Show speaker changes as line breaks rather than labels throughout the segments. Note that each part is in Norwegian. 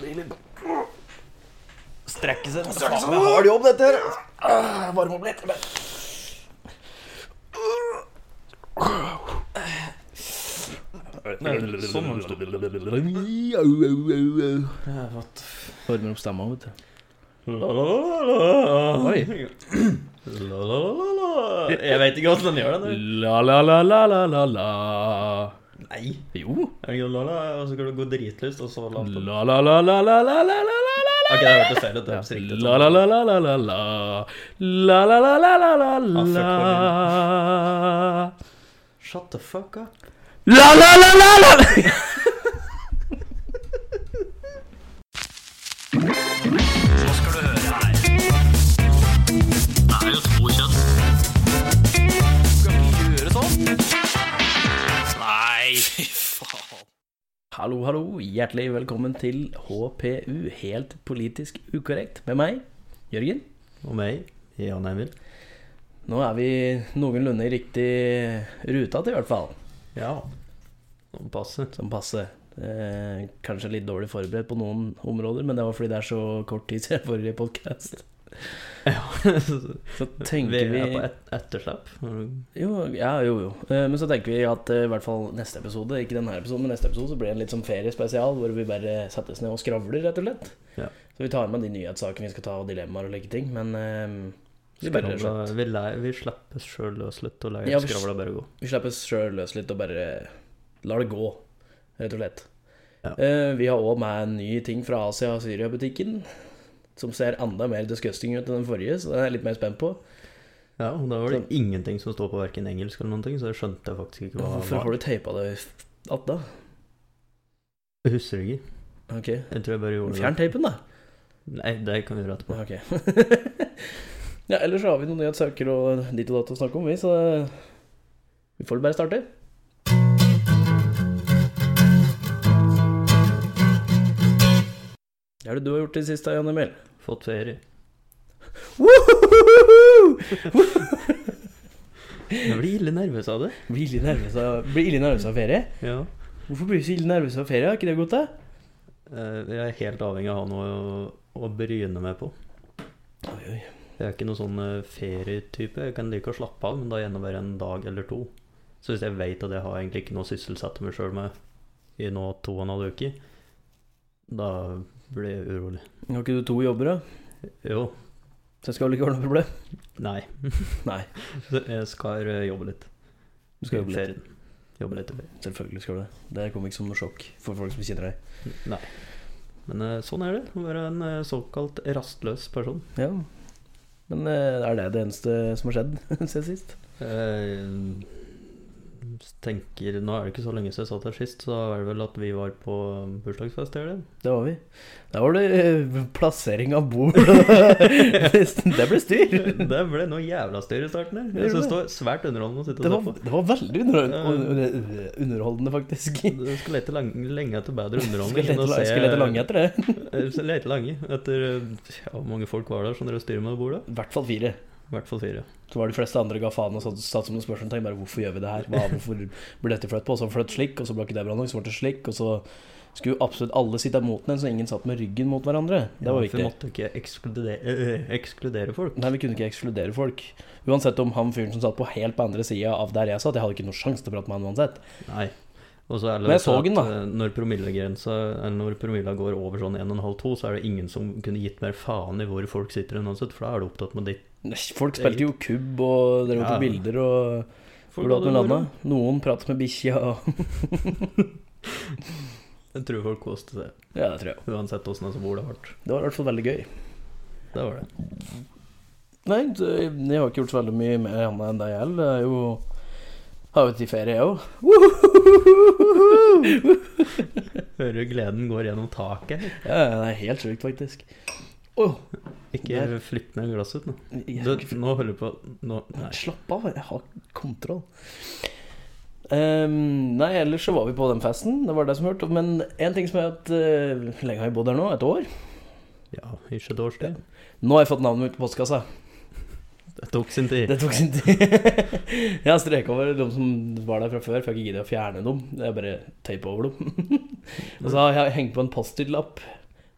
Deilig.
Strekke seg. Men
Strekke seg.
faen, jeg har jobb, dette her.
Ah, Varme opp litt. Men.
Sånn må du stå. Former opp stemma, vet du. Oi.
Jeg vet ikke hvordan den gjør det.
La, la, la, la, la, la, la.
Nei.
Jo.
Er det ikke la, la, og så kan du gå dritlyst, og så lavt opp.
La, la, la, la, la, la, la, la, la, la.
Ok, det hørtes feil ut. Det
Ja.
hørtes riktig ut.
La la la la la la la La la la la la la la La
Shut the fuck up.
la la la la Hallo, hallo. Hjertelig velkommen til HPU, helt politisk ukorrekt, med meg, Jørgen.
Og meg, Jan Emil.
Nå er vi noenlunde i riktig ruta til, i hvert fall.
Ja. Sånn passe.
Som passe. Eh, kanskje litt dårlig forberedt på noen områder, men det var fordi det er så kort tid siden forrige podkast. Så
Vi
tenker vi
er på et etterslep.
Jo, ja, jo, jo. Eh, Men så tenker vi at eh, i hvert fall neste episode, ikke denne episoden, men neste episode, så blir det en litt sånn feriespesial hvor vi bare settes ned og skravler, rett og slett.
Ja.
Så vi tar med de nyhetssakene vi skal ta, og dilemmaer og like ting, men eh, vi bare rett og slett
Skravla- Vi, lei- vi slipper oss sjøl løs litt og lar
Ja, vi-
skravla bare gå.
Vi slipper sjøl løs litt og bare lar det gå, rett og slett.
Ja.
Eh, vi har òg med en ny ting fra Asia- og Syria-butikken. Som ser enda mer disgusting ut enn den forrige, så den er jeg litt mer spent på.
Ja, og da var det
Sånn.
ingenting som står på hverken engelsk eller noen ting, så jeg skjønte faktisk ikke hva
Hvorfor har du teipa det att da?
Jeg husker det ikke.
Ok,
Jeg tror jeg bare gjorde
fjern teipen, da.
det. Nei, det kan vi gjøre etterpå.
Ok. ja, ellers så har vi noen nyhetssaker og ditt og datt å snakke om, vi, så eh, vi får bare starte. Hva er det du har gjort i det siste, Jan Emil?
Fått ferie. Jeg blir ille nervøs av det.
Blir ille nervøs av, blir ille nervøs av ferie?
Ja.
Hvorfor blir du så ille nervøs av ferie? Har ikke det gått deg?
Eh, Jeg er helt avhengig av å ha noe å, å bryne meg på.
Oi, oi.
Jeg er ikke noen sånn eh, ferietype. Jeg kan like å slappe av, men da gjerne bare en dag eller to. Så hvis jeg vet at jeg har egentlig ikke noe å sysselsette meg sjøl med i nå to og en halv uke, da blir jeg urolig.
Har ikke du to jobber, da?
Jo.
Så det skal vel ikke være noe problem?
Nei.
Nei.
Så Jeg skal eh, jobbe litt.
Du skal jobbe litt.
Ferien. Jobbe litt i ferien.
Selvfølgelig skal du det. Det kom ikke som noe sjokk for folk som kjenner deg.
Nei. Men eh, sånn er det å være en eh, såkalt rastløs person.
Ja. Men eh, er det det eneste som har skjedd siden sist?
Jeg Eh, tenker, Nå er det ikke så lenge siden jeg satt her sist, så da er det vel at vi var på bursdagsfest i helgen.
Det var vi. Der var det eh, plassering av bord. det ble styr.
Det ble noe jævla styr i starten her. Jeg synes det var svært underholdende å sitte
Det var,
og se på.
det var veldig underholdende, underholdende faktisk.
Du skal lete lang, lenge etter bedre underholdning.
Skal
enn å
lete,
se-
skal lete lange etter det.
Eh, skal lete lange etter eh, ja, hvor mange folk var der som dere styrer med det bordet.
I hvert fall fire.
I hvert fall fire.
Så var de fleste andre ga faen og satt satt som noen spørsmålstegn. Bare hvorfor gjør vi det her? Hva, hvorfor ble dette flyttet på? Og så flytt slik, og så ble ikke det bra nok, så ble det slik. Og så skulle absolutt alle sitte mot den, så ingen satt med ryggen mot hverandre. Det var
Ja, for Vi
viktig.
måtte ikke ekskludere, eh, ekskludere folk.
Nei, vi kunne ikke ekskludere folk. Uansett om han fyren som satt på helt på andre sida av der jeg satt, jeg hadde ikke noe sjanse til å prate med han uansett.
Nei. Og så er det
Men jeg
også
så
at,
den, da.
eh, Når promillegrensa Eller når promilla går over sånn 1,5-2, så er det ingen som kunne gitt mer faen i hvor folk sitter enn uansett, for da er du opptatt med ditt.
Nei, Folk spilte jo kubb og drev
Ja.
på bilder og hvordan det landa. Noen pratet med bikkja og
Jeg tror folk koste seg,
Ja, det tror jeg.
uansett åssen de bor det hardt.
Det var i hvert fall veldig gøy.
Det var det.
Nei, det- jeg har ikke gjort så veldig mye mer annet enn deg heller. Det er jo Har jo vært i ferie, jeg òg.
Hører du gleden går gjennom taket?
Ja, det er helt sjukt, faktisk. Åh,
Ikke
Der.
flipp ned glasset nå.
jeg,
Du, nå holder du på nå, Nei.
Slapp av, jeg har kontroll. Ehm, nei, ellers så var vi på den festen, det var det som hørte. Men én ting som er at eh, Hvor lenge har vi bodd her nå? Et år?
Ja, ikke et års tid.
Nå har jeg fått navnet mitt på postkassa.
Det tok sin tid.
Det tok sin tid. jeg har streka over de som var der fra før, for jeg har ikke giddet å fjerne dem. Jeg bare teipa over dem. og så har jeg hengt på en Post-It-lapp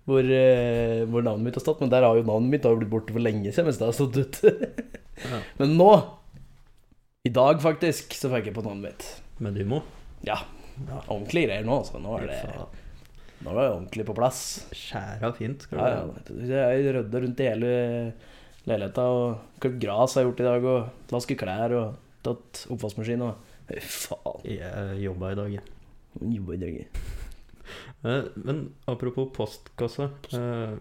hvor, eh, hvor navnet mitt har stått. Men der har jo navnet mitt har jo blitt borte for lenge siden mens det har stått ute.
Ja.
Men nå, i dag faktisk, så fikk jeg på navnet mitt.
Med Dymo.
Ja, ordentlige greier nå, altså. Nå er det, nå er det ordentlig på plass.
Skjæra fint. Skal du
Ja, ja. Jeg rydda rundt i hele leiligheta og klippet gras har jeg gjort i dag, og vasket klær og tatt oppvaskmaskin og Fy faen.
Jeg jobba i dag, jeg.
Jobba i dag.
Eh, Men apropos postkasse eh,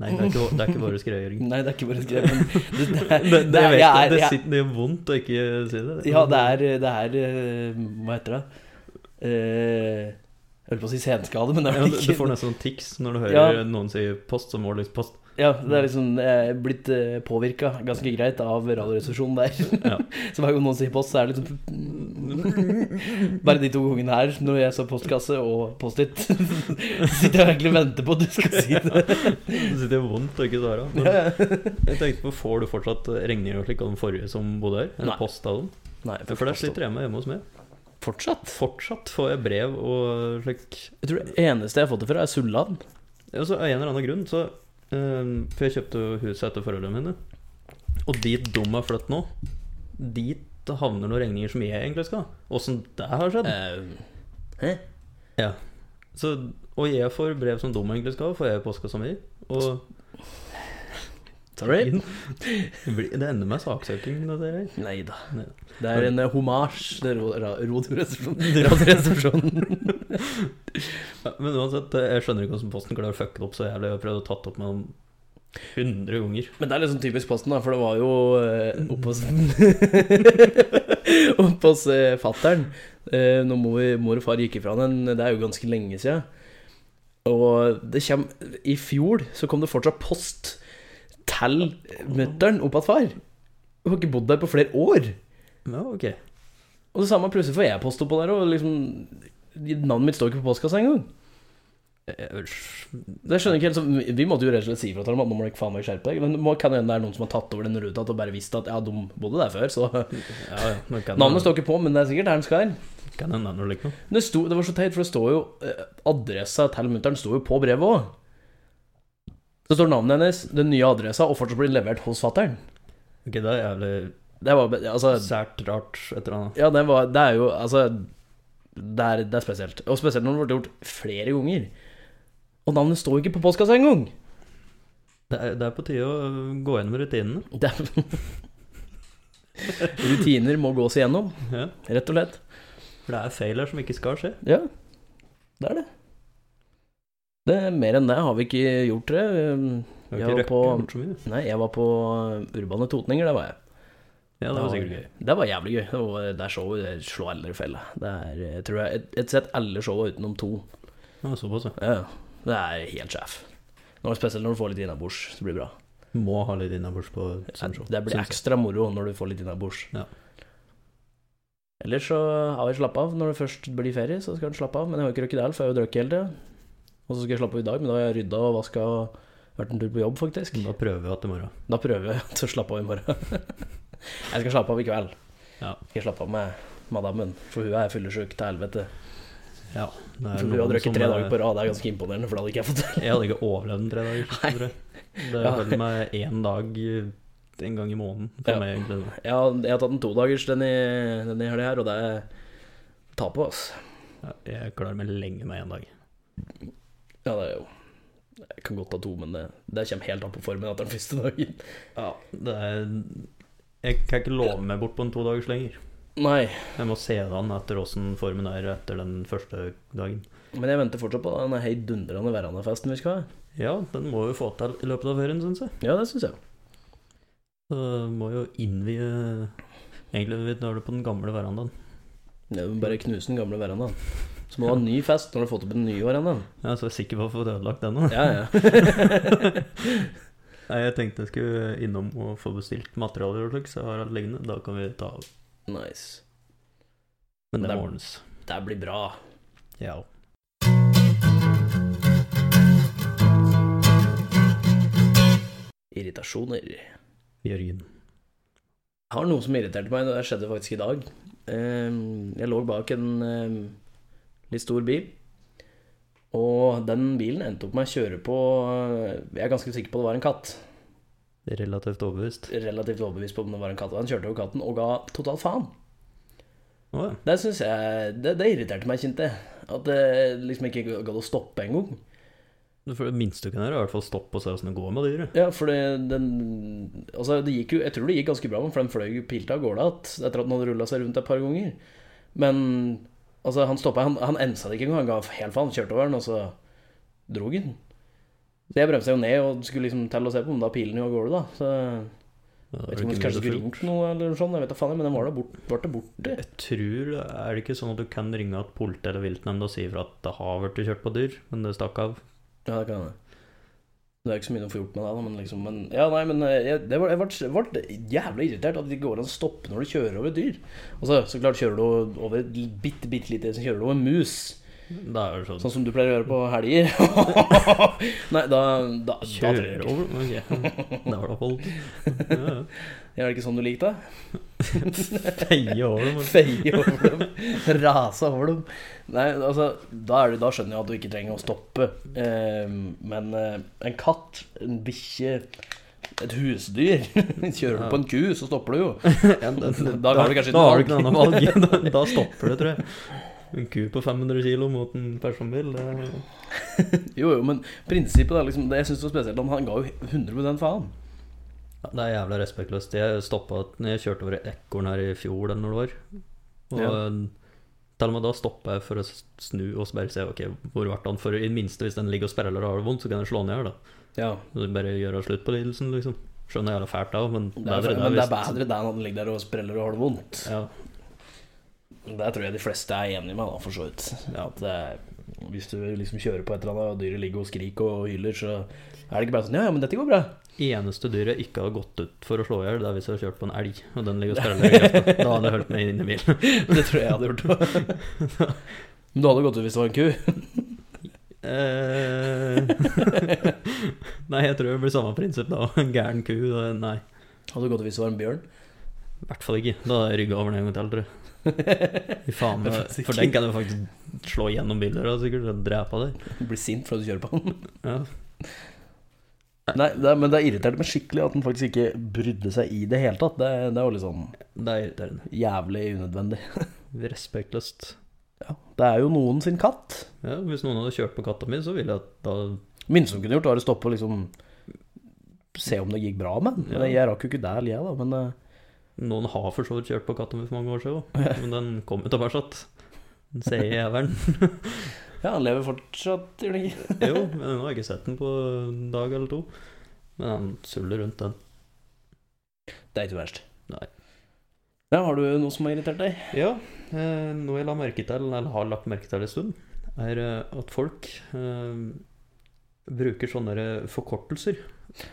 Nei, det er ikke, det er ikke våre greier, Jørgen.
Nei, det er ikke bare skrevet. men Det, det,
Det, det,
det er- jeg
vet jeg,
er-
det
jeg-
sitter det gjør vondt å ikke si det.
Ja, det er, det er eh, Hva heter det? Eh, Jeg holdt på å si senskade, men det er
Ja,
vel
du,
ikke
du får nesten sånn tics når du hører
Ja.
noen si post, så må du liksom post.
Ja, det er liksom eh, blitt påvirka ganske greit av radioresepsjonen der.
Ja.
så hver gang noen sier post, så er det liksom Bare de to gangene her, når jeg sa postkasse og Post-It, så sitter jeg og egentlig og venter på at du skal si det.
Det sitter vondt å ikke svare. Men
Ja, ja.
jeg tenkte på, får du fortsatt regninger og slik av den forrige som bodde her?
Nei.
Eller post av dem?
Nei,
Ja, For der sliter jeg med hjemme hos meg.
fortsatt.
Fortsatt får jeg brev og slik.
Jeg tror det eneste jeg har fått det fra, er Sulland.
Ja, så av en eller annen grunn, så eh, For jeg kjøpte jo huset etter foreldrene mine. Og dit de har flyttet nå, dit havner noen regninger som jeg egentlig skal ha. Åssen det har
Eh,
skjedd.
hæ?
Ja. Så, og jeg får brev som de egentlig skal ha, får jeg i postkassa mi. Og
Sorry.
Det blir- det ender med saksøking. Det der.
Nei da.
Nei.
Det er en uh, homasj til ro- ra- radioresepsjonen. radioresepsjonen.
Ja, Men uansett, eh, jeg skjønner ikke hvordan Posten klarer å fucke det opp så jævlig. Jeg har prøvd å tatt opp med dem 100 ganger.
Men det er liksom typisk Posten, da, for det var jo eh, oppe hos Oppe hos eh, fattern. Eh, når mor, mor og far gikk ifra den, det er jo ganske lenge siden. Og det kjem, i fjor så kom det fortsatt post til mutter'n opp at far. Hun har ikke bodd der på flere år.
Ja, ok.
Og det samme plutselig får jeg post oppå der, og liksom Navnet mitt står ikke på postkassa engang.
Jeg-
Det skjønner jeg ikke helt, så vi måtte jo rett og slett si ifra til dem at nå må dere faen meg skjerpe deg. Men det må- kan hende det er noen som har tatt over den ruta og bare visst at ja, de bodde der før, så
Ja, ja. men Kan
Navnet står ikke på, men det er sikkert der den skal være.
Kan hende det er noe likt noe.
Men Det, sto, det var så teit, for det står jo eh, Adressa til mutter'n står jo på brevet òg. Så står navnet hennes, den nye adressa, og fortsatt blir den levert hos fatter'n.
Ok, det er jævlig
Det var altså
sært rart, et eller annet.
Ja, det, var, det er jo Altså det er, det er spesielt. Og spesielt når det ble gjort flere ganger. Og navnet står jo ikke på postkassa engang!
Det er, det er på tide å øh, gå gjennom rutinene.
Det er- Rutiner må gås igjennom,
Ja.
rett og slett.
For det er feil her som ikke skal skje.
Ja, det er det. det mer enn det har vi ikke gjort, tror jeg.
Jeg
Ja,
har ikke
på-
røkket bort så mye.
Nei, jeg var på uh, Urbane Totninger, det var jeg.
Ja, det var sikkert gøy.
Det var jævlig gøy. Det, var, det er showet det slår aldri felle. Det er, jeg tror jeg, jeg har sett alle showa utenom to.
Det var såpass, ja.
Ja, ja. det er helt sjef. Nå, spesielt når du får litt innabords, så blir det bra.
Må ha litt innabords på sånn show.
Det blir
Synes jeg.
ekstra moro når du får litt innabords.
Ja.
Ellers så har jeg slappet av. Når det først blir ferie, så skal en slappe av. Men jeg har jo ikke røkket det, for jeg har jo drukket hele tida. Og så skal jeg slappe av i dag, men da har jeg rydda og vaska og vært en tur på jobb, faktisk.
Da prøver vi at i morgen.
Da prøver jeg til å slappe av i morgen. Jeg skal slappe av i kveld.
Ja.
Jeg skal slappe av med madammen, for hun er fyllesyk til helvete.
Ja, det er
For hun
noen
har drukket
som
tre
er-
dager på rad, det er ganske imponerende, for det hadde ikke jeg fått til.
Jeg hadde ikke overlevd den tre dager.
Nei.
tror jeg. Det
Ja.
holdt meg én dag eh, en gang i måneden for
Ja.
meg, egentlig.
Jeg har, jeg har tatt en todagers denne, denne helga her, og det er ta på, ass.
Ja, Jeg klarer meg lenge med én dag.
Ja, det er jo Jeg kan godt ta to, men det, det kommer helt an på formen etter den første dagen.
Ja, det er Jeg kan ikke love meg bort på en to dagers lenger.
Nei,
Jeg må se det an etter åssen formen er etter den første dagen.
men jeg venter fortsatt på den heidundrende verandafesten vi skal ha.
Ja, den må vi få til i løpet av ferien, syns jeg.
Ja, det syns jeg.
Så må jo innvie Egentlig vi tar det på den gamle verandaen.
Det er jo bare å knuse den gamle verandaen. Så må du ha en ny fest når du har fått opp den nye verandaen.
Jeg er så sikker på å få ødelagt den nå.
Ja, ja.
Nei, jeg tenkte jeg skulle innom og få bestilt materialer og slik, så jeg har alt liggende. Da kan vi ta av.
Nice.
Men det
Det er-
må ordnes.
Det blir bra.
Ja.
Irritasjoner.
Jørgen.
Jeg har noe som irriterte meg, og det skjedde faktisk i dag. Ehm, Eh, Jeg lå bak en eh, litt stor bil, Og den bilen endte opp med å kjøre på eh, Jeg er ganske sikker på det var en katt.
Det er Relativt overbevist.
Relativt overbevist på om det var en katt. Og han kjørte over katten og ga totalt faen.
Å ja.
Det synes jeg det, det irriterte meg, kjente jeg. At det liksom ikke gadd å stoppe engang.
For det minste du kan gjøre, er i hvert fall stoppe og se åssen det går med dyret.
Ja, for det, den Altså, det gikk jo Jeg tror det gikk ganske bra, med den, for den fløy jo pilt av gårde igjen etter at den hadde rulla seg rundt et par ganger. Men altså, han stoppa Han, han ensa det ikke engang. Han ga helt faen, kjørte over den, og så drog han. Så jeg bremsa jo ned og skulle liksom til å se på, men da pilen jo av gårde, da. Så jeg
Ja,
vet
er det
ikke om vi
ikke
kanskje
mulig å
skulle ringt noe eller noe sånt, jeg vet da faen, men den var da bort, ble det borte.
Jeg tror Er det ikke sånn at du kan ringe at politiet eller viltnemnda og si ifra at det har vært kjørt på dyr, men det stakk av?
Ja, det kan jeg. Det er ikke så mye å få gjort med det, da, men liksom men, Ja, nei, men eh, jeg, det var, jeg ble, ble jævla irritert at det ikke går an å stoppe når du kjører over et dyr. Altså, så klart kjører du over et li- bitte, bitte lite så kjører du over en mus,
Da er det sånn
sånn som du pleier å gjøre på helger. nei, da, da, da tror jeg
Kjører
ikke.
over Ok, det var da folk. Ja, ja.
Er det ikke sånn du likte det?
Feie over dem.
Feie over dem, rase over dem. Nei, altså, da, er det, da skjønner jeg at du ikke trenger å stoppe. Eh, men eh, en katt, en bikkje, et husdyr Kjører du på en ku, så stopper du jo.
Ja, da- da-
Da har du kanskje
da har du
ikke
ikke noe
noe
annet valg. Da, da stopper det, tror jeg. En ku på 500 kilo mot en personbil, det er
Jo, jo, men prinsippet er liksom Det jeg syns var spesielt, han, han ga jo 100 faen.
Ja, Det er jævla respektløst. Jeg stoppa når jeg kjørte over et ekorn her i fjor, eller når det var. Og eh,
Ja.
til og med da stoppa jeg for å s- snu og så bare se ok, hvor ble han. For i det minste, hvis den ligger og sperrer eller har det vondt, så kan jeg slå den i hjel. da.
Ja.
Så Bare gjøre slutt på lidelsen, liksom. Skjønner jævla fælt det òg, men
Det er, men det er
hvis-
bedre det enn at han ligger der og spreller og har det vondt.
Ja,
Der tror jeg de fleste er enige med, da, for så vidt. At det er, hvis du liksom kjører på et eller annet, og dyret ligger og skriker og hyler, så er det ikke bare sånn Ja, ja, men dette går bra.
eneste dyret jeg ikke hadde gått ut for å slå i hjel, det er hvis jeg hadde kjørt på en elg, og den ligger og sperrer i grøfta. Da hadde jeg holdt meg inne i bilen.
Det tror jeg jeg hadde gjort òg. Men du hadde gått ut hvis det var en ku?
Eh, nei, jeg tror det blir samme prinsipp da. En gæren ku, da, nei.
Hadde du gått ut hvis det var en bjørn?
I hvert fall ikke. Da hadde jeg rygga over den en gang til, tror jeg. Fy faen,
Det er faktisk
for
ikke-
den kan du faktisk slå gjennom biler og sikkert og drepe deg.
Blir sint fordi du kjører på den?
Ja.
Nei, det, er- men det irriterte meg skikkelig at den faktisk ikke brydde seg i det hele tatt. Det, det var litt sånn
Det er irriterende.
jævlig unødvendig.
Respektløst.
Ja. Det er jo noen sin katt.
Ja, hvis noen hadde kjørt på katta mi, så ville jeg at da
Minste som kunne gjort, var å stoppe og liksom se om det gikk bra med den. Men
Ja.
Jeg rakk jo ikke der, jeg, da. Men eh,
Noen har for så vidt kjørt på katta mi for mange år siden òg, men den kom jo tilbake igjen. Den ser jeg i jævelen.
ja, han lever fortsatt, gjør han ikke?
Jo, men nå har jeg ikke sett den på en dag eller to. Men han suller rundt, den.
Det er ikke verst.
Nei.
Ja, har du noe som har irritert deg?
Ja, eh, noe jeg la merke til, eller har lagt merke til en stund, er eh, at folk eh, bruker sånne der forkortelser.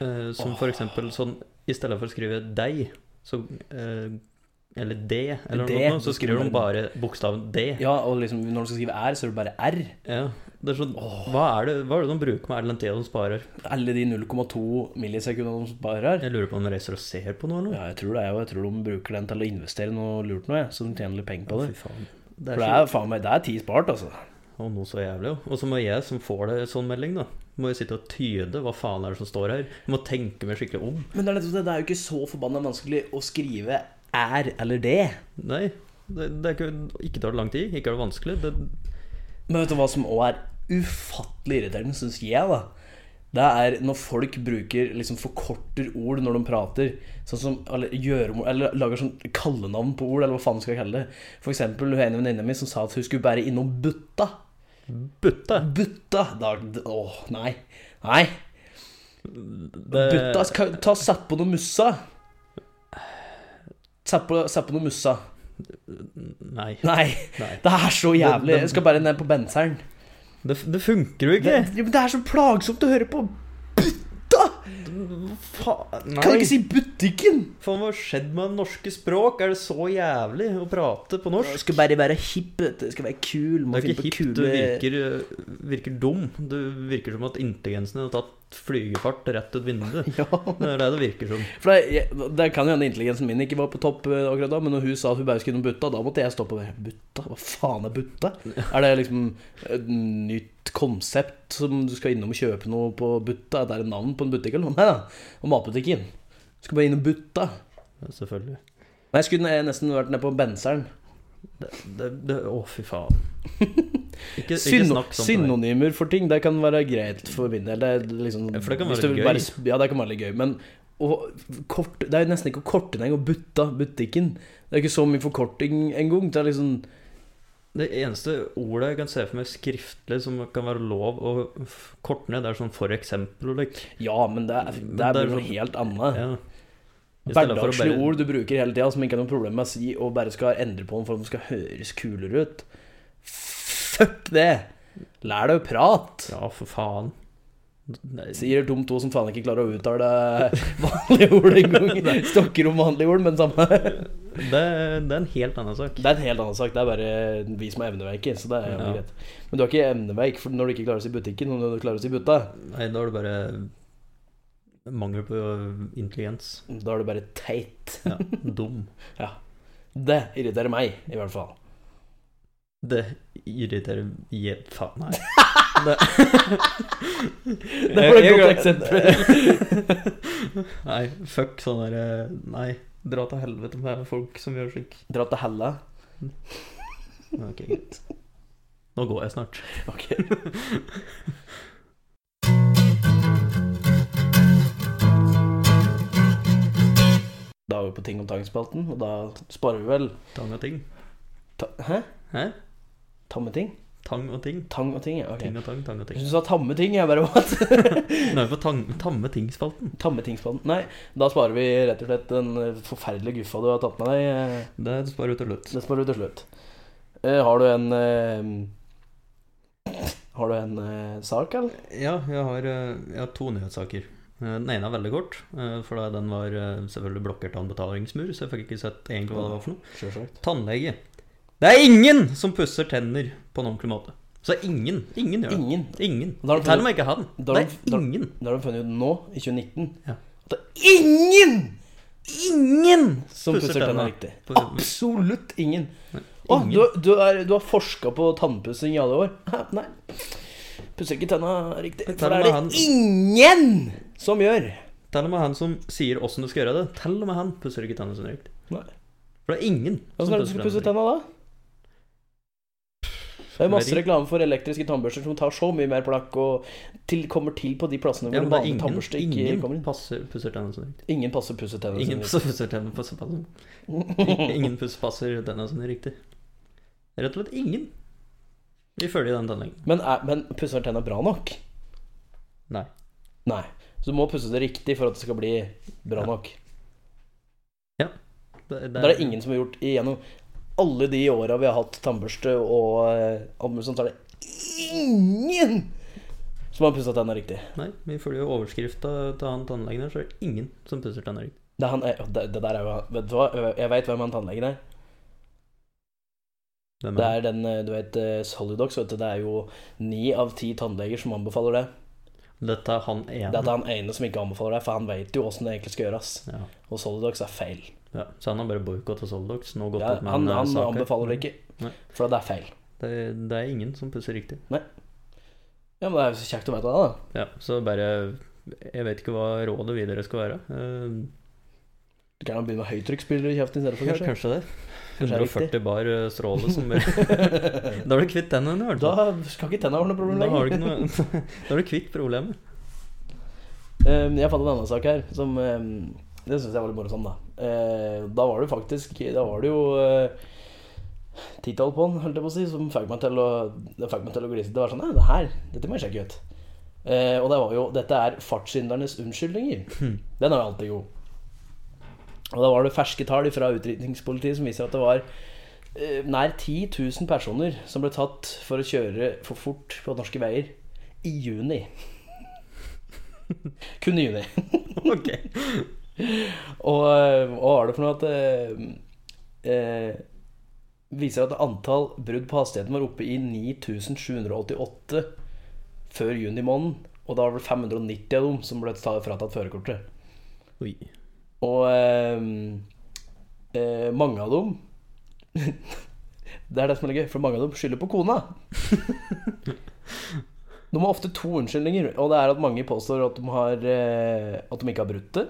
Eh, som for eksempel sånn I stedet for å skrive 'deg', så eh, Eller 'det', eller
Det,
noe sånt, så
så
skriver
skriver
de bare bokstaven 'd'.
Ja, og liksom når du skal skrive R, så er det bare R.
Ja, det er sånn, hva, er det, hva er det de bruker med all den tida de sparer?
Alle de 0,2 millisekundene de sparer.
Jeg lurer på om de reiser og ser på noe eller noe?
Ja, jeg tror det er jo Jeg tror de bruker den til å investere noe lurt noe, jeg, så de tjener litt penger på det.
fy faen. Det
For
er
det
så,
er faen meg Det er ti spart, altså.
og noe så jævlig, jo. Og så må jeg som får det sånn melding, da, må jeg sitte og tyde hva faen er det som står her. Jeg må tenke meg skikkelig om.
Men det er, nettopp det, det er jo ikke så forbanna vanskelig å skrive er eller det.
Nei, det, det er ikke, ikke tar det lang tid, ikke er det vanskelig. Det,
Men vet du hva som òg er ufattelig irriterende, syns jeg, da? Det er når folk bruker liksom forkorter ord når de prater. Sånn som, eller, gjøremål, eller lager sånn kallenavn på ord, eller hva faen skal jeg kalle det. For eksempel hun ene venninna mi som sa at hun skulle bære innom Butta.
butte!
Butta! Da, åh, nei. Nei.
Det,
Butta, ska- ta og sett på noe mussa. Sett på, sett på noe mussa.
Nei.
Nei.
nei.
Det er så jævlig. Jeg skal bare ned på benseren.
Det, det funker jo ikke!
Det, ja, men det er så plagsomt å høre på. Butta!
Faen,
Kan du
nei!
ikke si butikken?
Faen, hva har skjedd med det norske språk? Er det så jævlig å prate på norsk?
Du skal bare være hipp, vet du. Du Skal være kul.
Det
Må
er
finne
ikke
på
hipt, du
kule
virker, virker dum. Du virker som at intelligensen din har tatt flygefart rett ut vinduet.
Ja.
Det er det det virker som.
For det, jeg, det kan jo hende intelligensen min ikke var på topp eh, akkurat da, men når hun sa at hun bare skulle innom Butta, da måtte jeg stoppe og være Butta? Hva faen er Butta? Er det liksom et nytt konsept som du skal innom og kjøpe noe på Butta? Er det et navn på en butikk eller noe? Nei da, og matbutikken. Du skal bare innom Butta.
Ja, Selvfølgelig.
Nei, jeg skulle ne- nesten vært nede på Benseren.
Det, det, det, å, fy faen. Ikke, ikke
Syno-
snakk sånn til meg.
synonymer for ting, det kan være greit for min del. Det er liksom,
Ja, for det kan
hvis
være
du
gøy.
sp- ja, det kan være litt gøy. Men og kort, det er jo nesten ikke å korte ned engang. Butta, butikken. Det er ikke så mye forkorting engang. Det er liksom
Det eneste ordet jeg kan se for meg skriftlig som kan være lov å f- korte ned, det er sånn for eksempel og lik.
Ja, men det er, det
Men
er
det er
noe
sånn-
helt annet.
Ja. I stedet for å
Hverdagslige
bare-
ord du bruker hele tida som ikke er noe problem med å si, og bare skal endre på den for at den skal høres kulere ut. Fuck det! Lær deg å prate!
Ja, for faen. Nei,
Sier dum to som faen ikke klarer å uttale vanlige ord engang. Stokker om vanlige ord, men samme
Det, det er en helt annen sak.
Det er en helt annen sak. Det er bare vi som er evneveike. Så det er jævlig
Ja.
greit. Men du er ikke evneveik for når du ikke klarer å si butikken, og når du klarer å si butta.
Nei, da er det bare mangel på intelligens.
Da er du bare teit.
Ja, dum.
Det irriterer meg, i hvert fall.
Det irriterer je- Faen, nei.
Det var et godt eksempel.
nei, fuck sånn derre Nei, dra til helvete med folk som gjør slik.
Dra til hella.
Ok, greit. Nå går jeg snart.
Ok. Da er vi på Ting om tang-spalten, og da sparer vi vel
Tang og ting.
ta Hæ?
Hæ?
Tamme ting?
Tang og ting.
Tang og ting, ja. ok.
Ting og tang, tang og
Jeg
ting.
syns du sa tamme ting. Jeg bare What?
Nå er vi på tang, tamme ting-spalten.
Tamme ting-spalten. Nei, da sparer vi rett og slett den eh, forferdelige guffa du har tatt med deg. eh,
Det sparer du til slutt.
Det sparer du til slutt. Eh, Har du en eh, Har du en eh, sak, eller?
Ja, jeg har, eh, jeg har to nyhetssaker. Eh, Den ene er veldig kort, eh, for da den var eh, selvfølgelig blokkert av en betalingsmur, så jeg fikk ikke sett egentlig hva det var for noe.
Sjølsagt.
Tannlege. Det er ingen som pusser tenner på en ordentlig måte. Så det er ingen. Ingen gjør det.
Ingen.
Ingen.
Da har de
Til og med ikke han.
da
Det
har de-
er
da-
ingen.
Det har de funnet ut nå, i 2019.
Ja.
At det er ingen
Ingen
som pusser tennene riktig.
Pusser-
Absolutt ingen.
Nei,
Å,
ingen.
du, du, er, du har forska på tannpussing i alle år? Hæ, Nei. Pusser ikke tenna riktig. For
Tennene
det er
han-
det ingen som gjør.
Til og med han som sier åssen du skal gjøre det, til og med han pusser ikke tennene sine riktig.
Nei.
For det er ingen
Åssen er det du skal pusse tenna da? Sånn Det er masse reklame for elektriske tannbørster som tar så mye mer plakk og til, kommer til på de plassene hvor
Ja, men det er
vanlig
ingen,
tannbørste ikke kommer
ingen
inn.
passer, pusser tennene sine riktig.
Ingen passer pusset tennene
Ingen
sine.
pusser pusser tennene på såpass. Ingen puss passer denne sånn riktig. Rett og slett ingen. Ifølge den tannlegen.
Men, er, men pusser tenna bra nok?
Nei.
Nei. Så du må pusse det riktig for at det skal bli bra
Ja.
nok.
Det, det
Det er det ingen som har gjort igjennom alle de åra vi har hatt tannbørste og eh, alt mulig sånt, så er det ingen som har pussa tenna riktig.
Nei, men ifølge overskrifta til han tannlegen her, så er det ingen som pusser tennene riktig.
Det, er han, eh, det, det der er jo han- Vet du hva, jeg veit hvem han tannlegen er.
Hvem
Det
er det?
er den, eh, du vet, eh, Solidox, vet du, det er jo ni av ti tannleger som anbefaler det.
Dette er han ene.
Det er han ene som ikke anbefaler det, for han vet jo åssen det egentlig skal gjøres.
Ja.
Og Solidox er feil.
ja. Så han har bare boikotta Soldox. Nå gått
Ja,
ut med
han
en, eh,
han
sak her.
anbefaler det ikke,
Nei.
for det er feil.
Det, det er ingen som pusser riktig.
Ja, men det er jo så kjekt å vite det, da.
Ja, så bare Jeg vet ikke hva rådet videre skal være. Eh,
Du kan jo begynne med høytrykksspiller i kjeften i stedet for,
ja,
kanskje.
kanskje det.
Kanskje det er riktig.
140 bar eh, stråle som bare Da er du kvitt tennene, i hvert fall.
Da skal ikke tenna være noe problem
Da har
lenger.
du ikke noe Da er du kvitt problemet.
Eh, Jeg fant en annen sak her som eh, Det syns jeg var litt morsomt, da. Eh, Da var det faktisk Da var det jo eh, titall på den, holdt jeg på å si, som fikk meg til å, det fikk meg til å glise. Det var sånn Nei, det her, dette må jeg sjekke ut. Eh, og det var jo Dette er fartssyndernes unnskyldninger. Den er jo alltid god. Og da var det ferske tall fra utrykningspolitiet som viser at det var eh, nær 10 000 personer som ble tatt for å kjøre for fort på norske veier i juni. Kun i juni.
Ok.
Og eh, hva var det for noe at eh, eh, Viser at antall brudd på hastigheten var oppe i 9788 før juni måned. Og da var det 590 av dem som ble ta- fratatt førerkortet.
Oi.
Og eh, eh, mange av dem Det er det som er litt gøy, for mange av dem skylder på kona. De har ofte to unnskyldninger, og det er at mange påstår at de, har, eh, at de ikke har brutt det.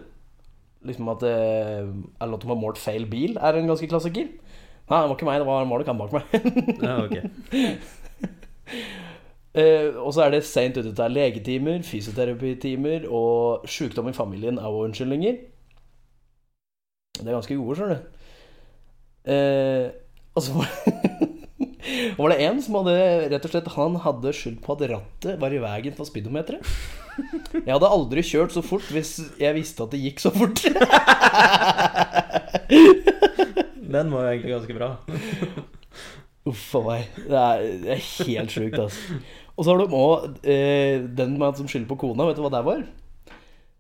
Liksom at, eh, eller at de har målt feil bil, er en ganske klassiker. Nei, det var ikke meg, det var en målek han bak meg.
Ja, ok.
Eh, og så er det seint ute til legetimer, fysioterapitimer og sjukdom i familien er også unnskyldninger. Det er ganske gode, skjønner du. Eh, og så var, var det en som hadde rett og slett Han hadde skyld på at rattet var i veien for speedometeret. Jeg hadde aldri kjørt så fort hvis jeg visste at det gikk så fort.
Den var jo egentlig ganske bra.
Uff a meg. Det er, det er helt sjukt, altså. Og så har de òg eh, den med at de skylder på kona. Vet du hva det var?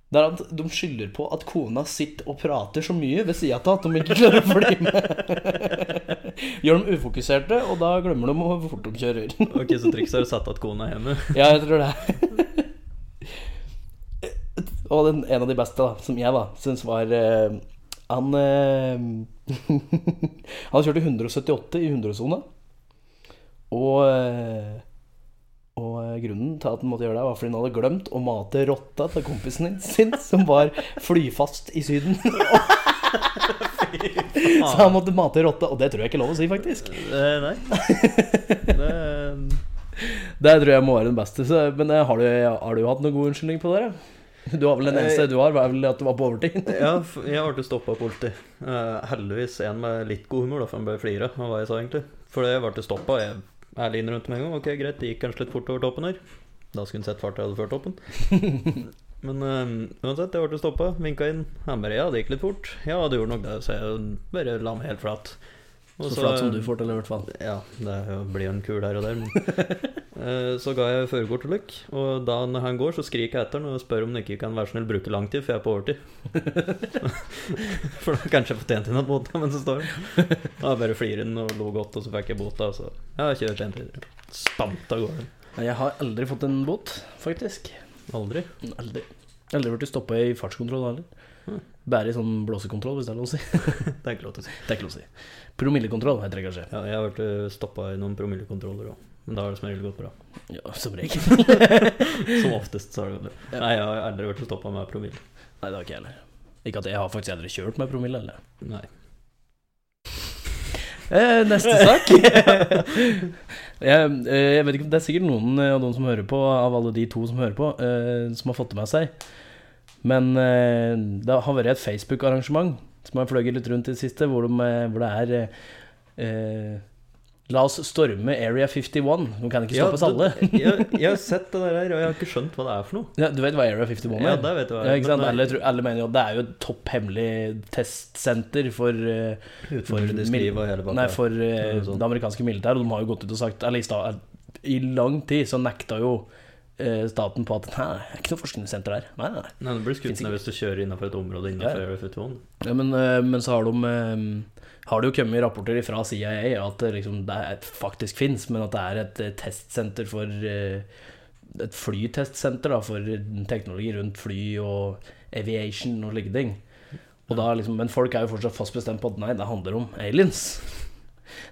Det er at De skylder på at kona sitter og prater så mye ved sida av at de ikke klarer å bli med. Gjør dem ufokuserte, og da glemmer de hvor fort de kjører.
Ok, Så trikset er å sette at kona er hjemme.
Ja, jeg tror det. Og den, en av de beste, da, som jeg da syns var eh, Han eh, Han kjørte 178 i 100-sona. Og, eh, og eh, grunnen til at han måtte gjøre det, var fordi han hadde glemt å mate rotta til kompisen sin, som var flyfast i Syden. Så han måtte mate rotta, og det tror jeg ikke er lov å si, faktisk.
Eh, Nei. Det eh,
Det tror jeg må være den beste. Så, men eh, har du, har du hatt noen god unnskyldning på det? da? Du har vel den eneste du har, var vel at du var på overtid?
Ja, f- jeg ble stoppa av politi. Eh, heldigvis en med litt god humor, da, for han bare flira av hva jeg sa, egentlig. For jeg ble stoppa, og jeg ærlig innrømte med en gang. Ok, greit, det gikk kanskje litt fort over toppen her. Da skulle han sett farta jeg hadde før toppen. Men eh, uansett, jeg ble stoppa, vinka inn. Han bare ja, det gikk litt fort. Ja, det gjorde nok det, så jeg bare la meg helt flat. Og
Så flat som du får til, i hvert fall.
ja, det blir jo en kul her og der, men Eh, Så ga jeg førerkort til Luck, og da når han går, så skriker jeg etter han og spør om han ikke kan være snill bruke lang tid, for jeg er på overtid. for da kanskje jeg fortjente han at bota, men så står han. Da bare flirer han og lo godt, og så fikk jeg bota, og så ja, kjør sent videre. Spant av gårde.
Nei, Jeg har aldri fått en bot, faktisk.
Aldri.
Mm, Aldri. Aldri blitt stoppa i fartskontroll heller.
Hm.
Bare i sånn blåsekontroll, hvis det er lov å si.
Det er ikke lov til å si.
Det er ikke lov å si. Promillekontroll heter det kanskje.
Ja, jeg har vært stoppa i noen promillekontroller òg, men da har det som regel gått bra.
Ja, som regel.
Som oftest så har det gått bra. Nei, jeg har aldri vært stoppa med promille.
Nei, det har ikke jeg heller. Ikke at jeg har faktisk aldri kjørt med promille, eller.
Nei.
Eh, neste sak. jeg, eh, jeg vet ikke, Det er sikkert noen eh, av de som hører på, av alle de to som hører på, eh, som har fått det med seg. Men eh, det har vært et Facebook-arrangement som har fløyet litt rundt i det siste, hvor, de, eh, hvor det er eh, eh, La oss storme Area 51. De kan ikke stoppes alle.
du- jeg, jeg har sett det der, her, og jeg har ikke skjønt hva det er for noe.
Ja, du vet hva Area 51 er?
Ja, det vet du hva.
Ja, ikke sant?
Men,
Alle, tror- alle mener jo at det er jo et topp hemmelig testsenter for eh,
utenfor
for
det
mil-
skrivet og hele pakka.
Nei, for eh,
Noe sånt.
det amerikanske militæret, og de har jo gått ut og sagt Eller i, sta- i lang tid så nekta jo eh, staten på at Nei, det er ikke noe forskningssenter der. Nei, nei, nei.
Nei, du blir skutt
Finnes
ned hvis du kjører innenfor et område innenfor
Ja, ja.
Area 51.
Ja, men, eh, men så har de eh, har det jo kommet rapporter fra CIA at det, liksom, det er- faktisk fins, men at det er et eh, testsenter for eh, Et flytestsenter da, for teknologi rundt fly og aviation og slike ting. Og da, liksom, men folk er jo fortsatt fast bestemt på at nei, det handler om aliens.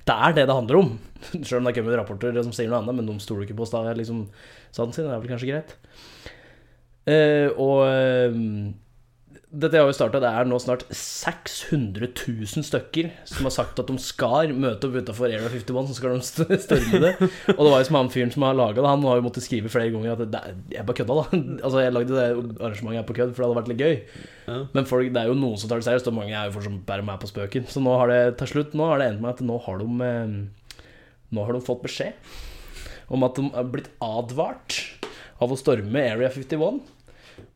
Det er det det handler om. Selv om det har kommet rapporter som sier noe annet, men de stoler ikke på sta- liksom, sannheten sin. Det er vel kanskje greit. Eh, og eh, dette har jo startet, det er nå snart 600 000 stykker som har sagt at de skal møte opp utenfor Area 51, så skal de st- storme det. Og det var jo som han fyren som har laget det, han har jo måttet skrive flere ganger at det, det- jeg bare kødda, da. Altså, jeg lagde det arrangementet her på kødd, for det hadde vært litt gøy.
Ja.
Men folk, det er jo noen som tar det seriøst, og mange er jo fortsatt bare med på spøken. Så nå har det til slutt nå har det endt med at nå har de eh, Nå har de fått beskjed om at de er blitt advart av å storme Area 51.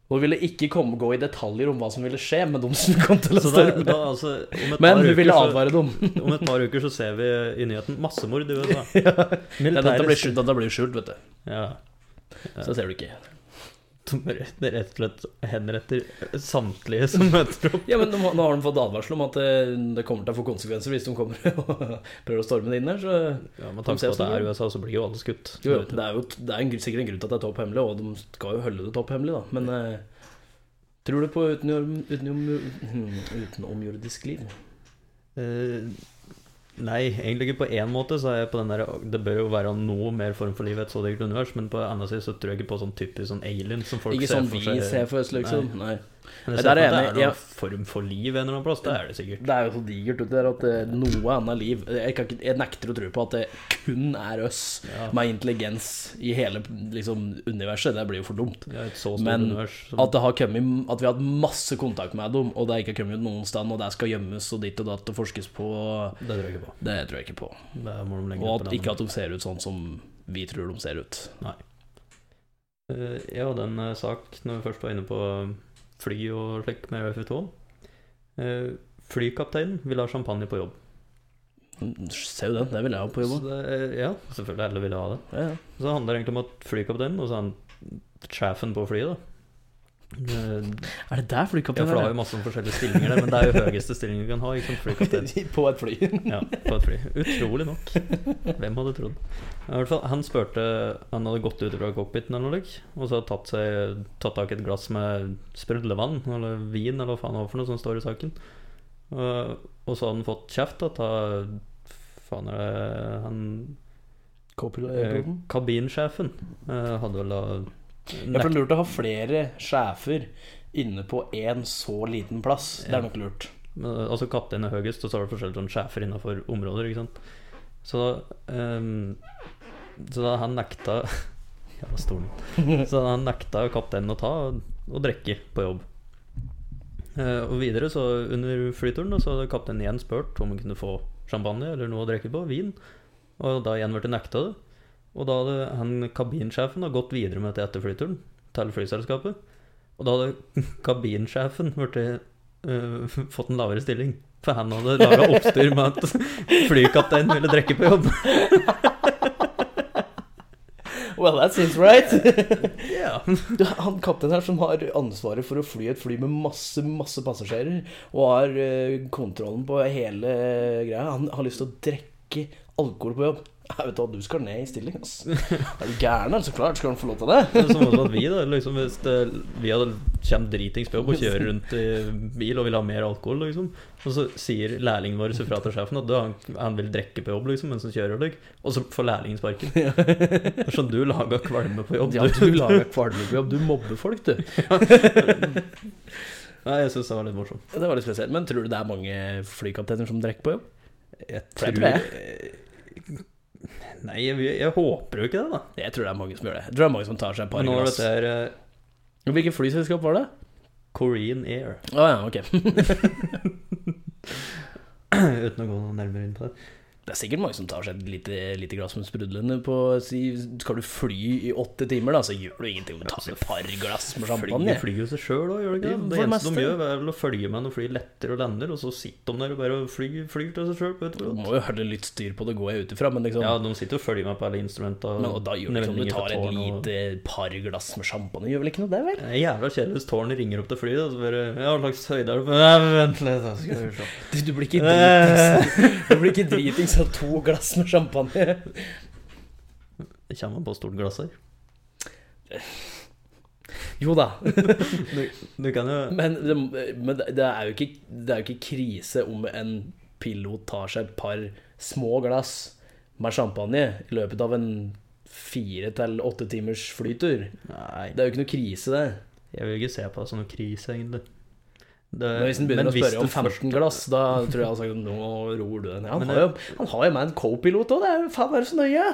Hun ville ikke komme, gå i detaljer om hva som ville skje med de som kom til å
Så da,
storme.
da altså om et,
Men
par
hun ville
uker,
advare dem.
så, om et par uker så ser vi i nyheten massemord i USA.
Ja, dette blir
sk-
skjult, dette blir skjult, vet du.
Ja.
Så det ser du ikke.
Som rett rett og slett henretter samtlige som møter opp.
Ja, men de, har- Nå har de fått advarsel om at eh, det kommer til å få konsekvenser hvis de kommer og prøver å storme det inn her. Så
Ja, Men
De
takk
ser
for at det
sånn
er USA, så blir jo alle skutt.
Jo, jo, det er jo det er en, gru- sikkert en grunn til at det er topp hemmelig, og de skal jo holde det topp hemmelig, da. Men eh, tror du på hmm, utenom, utenom, utenomjordisk liv?
Eh, Nei, egentlig ikke på én måte. så er jeg på den der, Det bør jo være noe mer form for liv i et så dyrt univers, men på den andre siden så tror jeg ikke på sånn typisk sånn alien som folk
Ikke
ser
sånn
for
vi
seg.
ser for oss, liksom. Nei.
Men
Nei,
jeg ser
der er
for meg
jeg
at
enig.
det er
Ja.
noen form for liv en eller annen plass. Det er det sikkert.
Det er jo så digert ute der at eh, noe annet liv jeg, kan ikke, jeg nekter å tro på at det kun er oss
Ja.
med intelligens i hele liksom, universet. Det blir jo for dumt.
Det er et så stort
Men
univers. Som,
At, det har kommet, at vi har hatt masse kontakt med dem, og det har ikke kommet ut noen sted, og det skal gjemmes og ditt og datt og forskes på,
det tror jeg ikke på.
det tror jeg ikke på.
Det må de legge
Og
opp
at,
en
ikke
annen
at de ser ut sånn som vi tror de ser ut.
Eh, Jeg hadde en eh, sak når vi først var inne på um, fly og slik med UFO2. Eh, Flykapteinen vil ha champagne på jobb.
Ser jo den, det vil jeg ha på
Så
jobb.
det, er- ja, selvfølgelig. Alle vil ha det.
Ja, ja.
Så det handler egentlig om at flykapteinen, og så er han sjefen på flyet, da. Eh,
Er det der
Ja,
flykapteinen
for det har jo masse forskjellige stillinger der, men det er jo høyeste stillingen du kan ha. Ikke sant, flykaptein.
På et fly.
Ja, på et fly. Utrolig nok. Hvem hadde trodd? I hvert fall, han spurte Han hadde gått ut fra cockpiten eller noe, lik, og så hadde tatt, seg, tatt tak i et glass med sprudlevann, eller vin, eller hva faen det var for noe som står i saken. Eh, Og så hadde han fått kjeft da, ta Faen er det Han eh,
Copyright-piloten.
Kabinsjefen eh, hadde vel da
Ja, for det er lurt å ha flere sjefer inne på én så liten plass. Det
Ja.
er nok lurt.
Men, Altså kaptein er høyest, og så har du forskjellige sånn sjefer innenfor områder, ikke sant. Så, ehm, så da han nekta Jævla stolen. Så han nekta kapteinen å ta og, og drikke på jobb. Eh, og videre, så under flyturen, da, så hadde kapteinen igjen spurt om han kunne få champagne eller noe å drikke på, vin, og da igjen ble nekta det. Og da hadde han kabinsjefen da, gått videre med dette etter flyturen til flyselskapet, og da hadde kabinsjefen blitt eh, fått en lavere stilling. For han hadde laga oppstyr med at flykapteinen ville drikke på jobb.
Well, that seems right.
Ja.
Du, han kapteinen her som har ansvaret for å fly et fly med masse, masse passasjerer, og har eh, kontrollen på hele greia, han har lyst til å drikke alkohol på jobb. Jeg vet du hva, du skal ned i stilling, ass. Er du gæren? eller? Så klart skal han få lov til det.
Det er Samme som at vi, da. Liksom, hvis det, vi hadde kommer dritings på jobb og kjører rundt i bil og vil ha mer alkohol, liksom. Og så sier lærlingen vår fra til sjefen at du, han, han vil drikke på jobb, liksom, mens han kjører, liksom. og så får lærlingen sparken. Det er Sånn du laga kvalme på jobb,
Ja,
du.
du lager kvalme på jobb. Du mobber folk, du.
Nei, jeg syns det var litt morsomt.
Det var litt spesielt. Men tror du det er mange flykapteiner som drikker på jobb?
Jeg
For det
tror Nei, jeg, jeg håper jo ikke det, da.
Jeg tror det er mange som gjør det. Jeg tror det er mange som tar seg et par
Men nå er
glass.
dette her eh,
Hvilket flyselskap var det?
Korean Air.
Å ja, ok.
Uten å gå noe nærmere inn på det.
Det er sikkert mange som tar seg et lite, lite glass med sprudlende på si, Skal du fly i åtte timer, da, så gjør du ingenting om du tar med et par glass med
Fly,
champagne.
flyr jo seg sjøl òg, gjør det ikke?
Ja,
det?
for
Det
det
eneste
meste.
de gjør, er vel å følge med når flyet letter og lander, og så sitter de der og bare flyr, flyr til seg sjøl. på et
Du
eller annet.
må jo holde litt styr på det, går jeg ut ifra, men liksom
Ja, de sitter og følger med på alle instrumenta.
men, og da gjør det ikke sånn, du tar et lite par glass med champagne, gjør vel ikke noe det, vel?
Det er jævla kjedelig hvis tårnet ringer opp til flyet, og så bare Ja, hva slags høyde er det på Nei, Vent litt, da skal vi se.
Du, du blir ikke dritings Du blir ikke dritings av to glass med champagne.
Det kommer an på hvor stort glass her.
Jo da,
Du kan jo
men, det, men det, det, er jo ikke, det er jo ikke krise om en pilot tar seg et par små glass med champagne i løpet av en fire til åtte timers flytur.
Nei,
Det er jo ikke noe krise, det.
jeg vil ikke se på det som noen krise, egentlig. Det-
Men hvis han begynner å
hvis
spørre om
det først-
15 glass, da tror jeg han har sagt nå roer du deg ned. Han
Men
har jo, han har jo med en co-pilot òg, det er jo faen er det så nøye?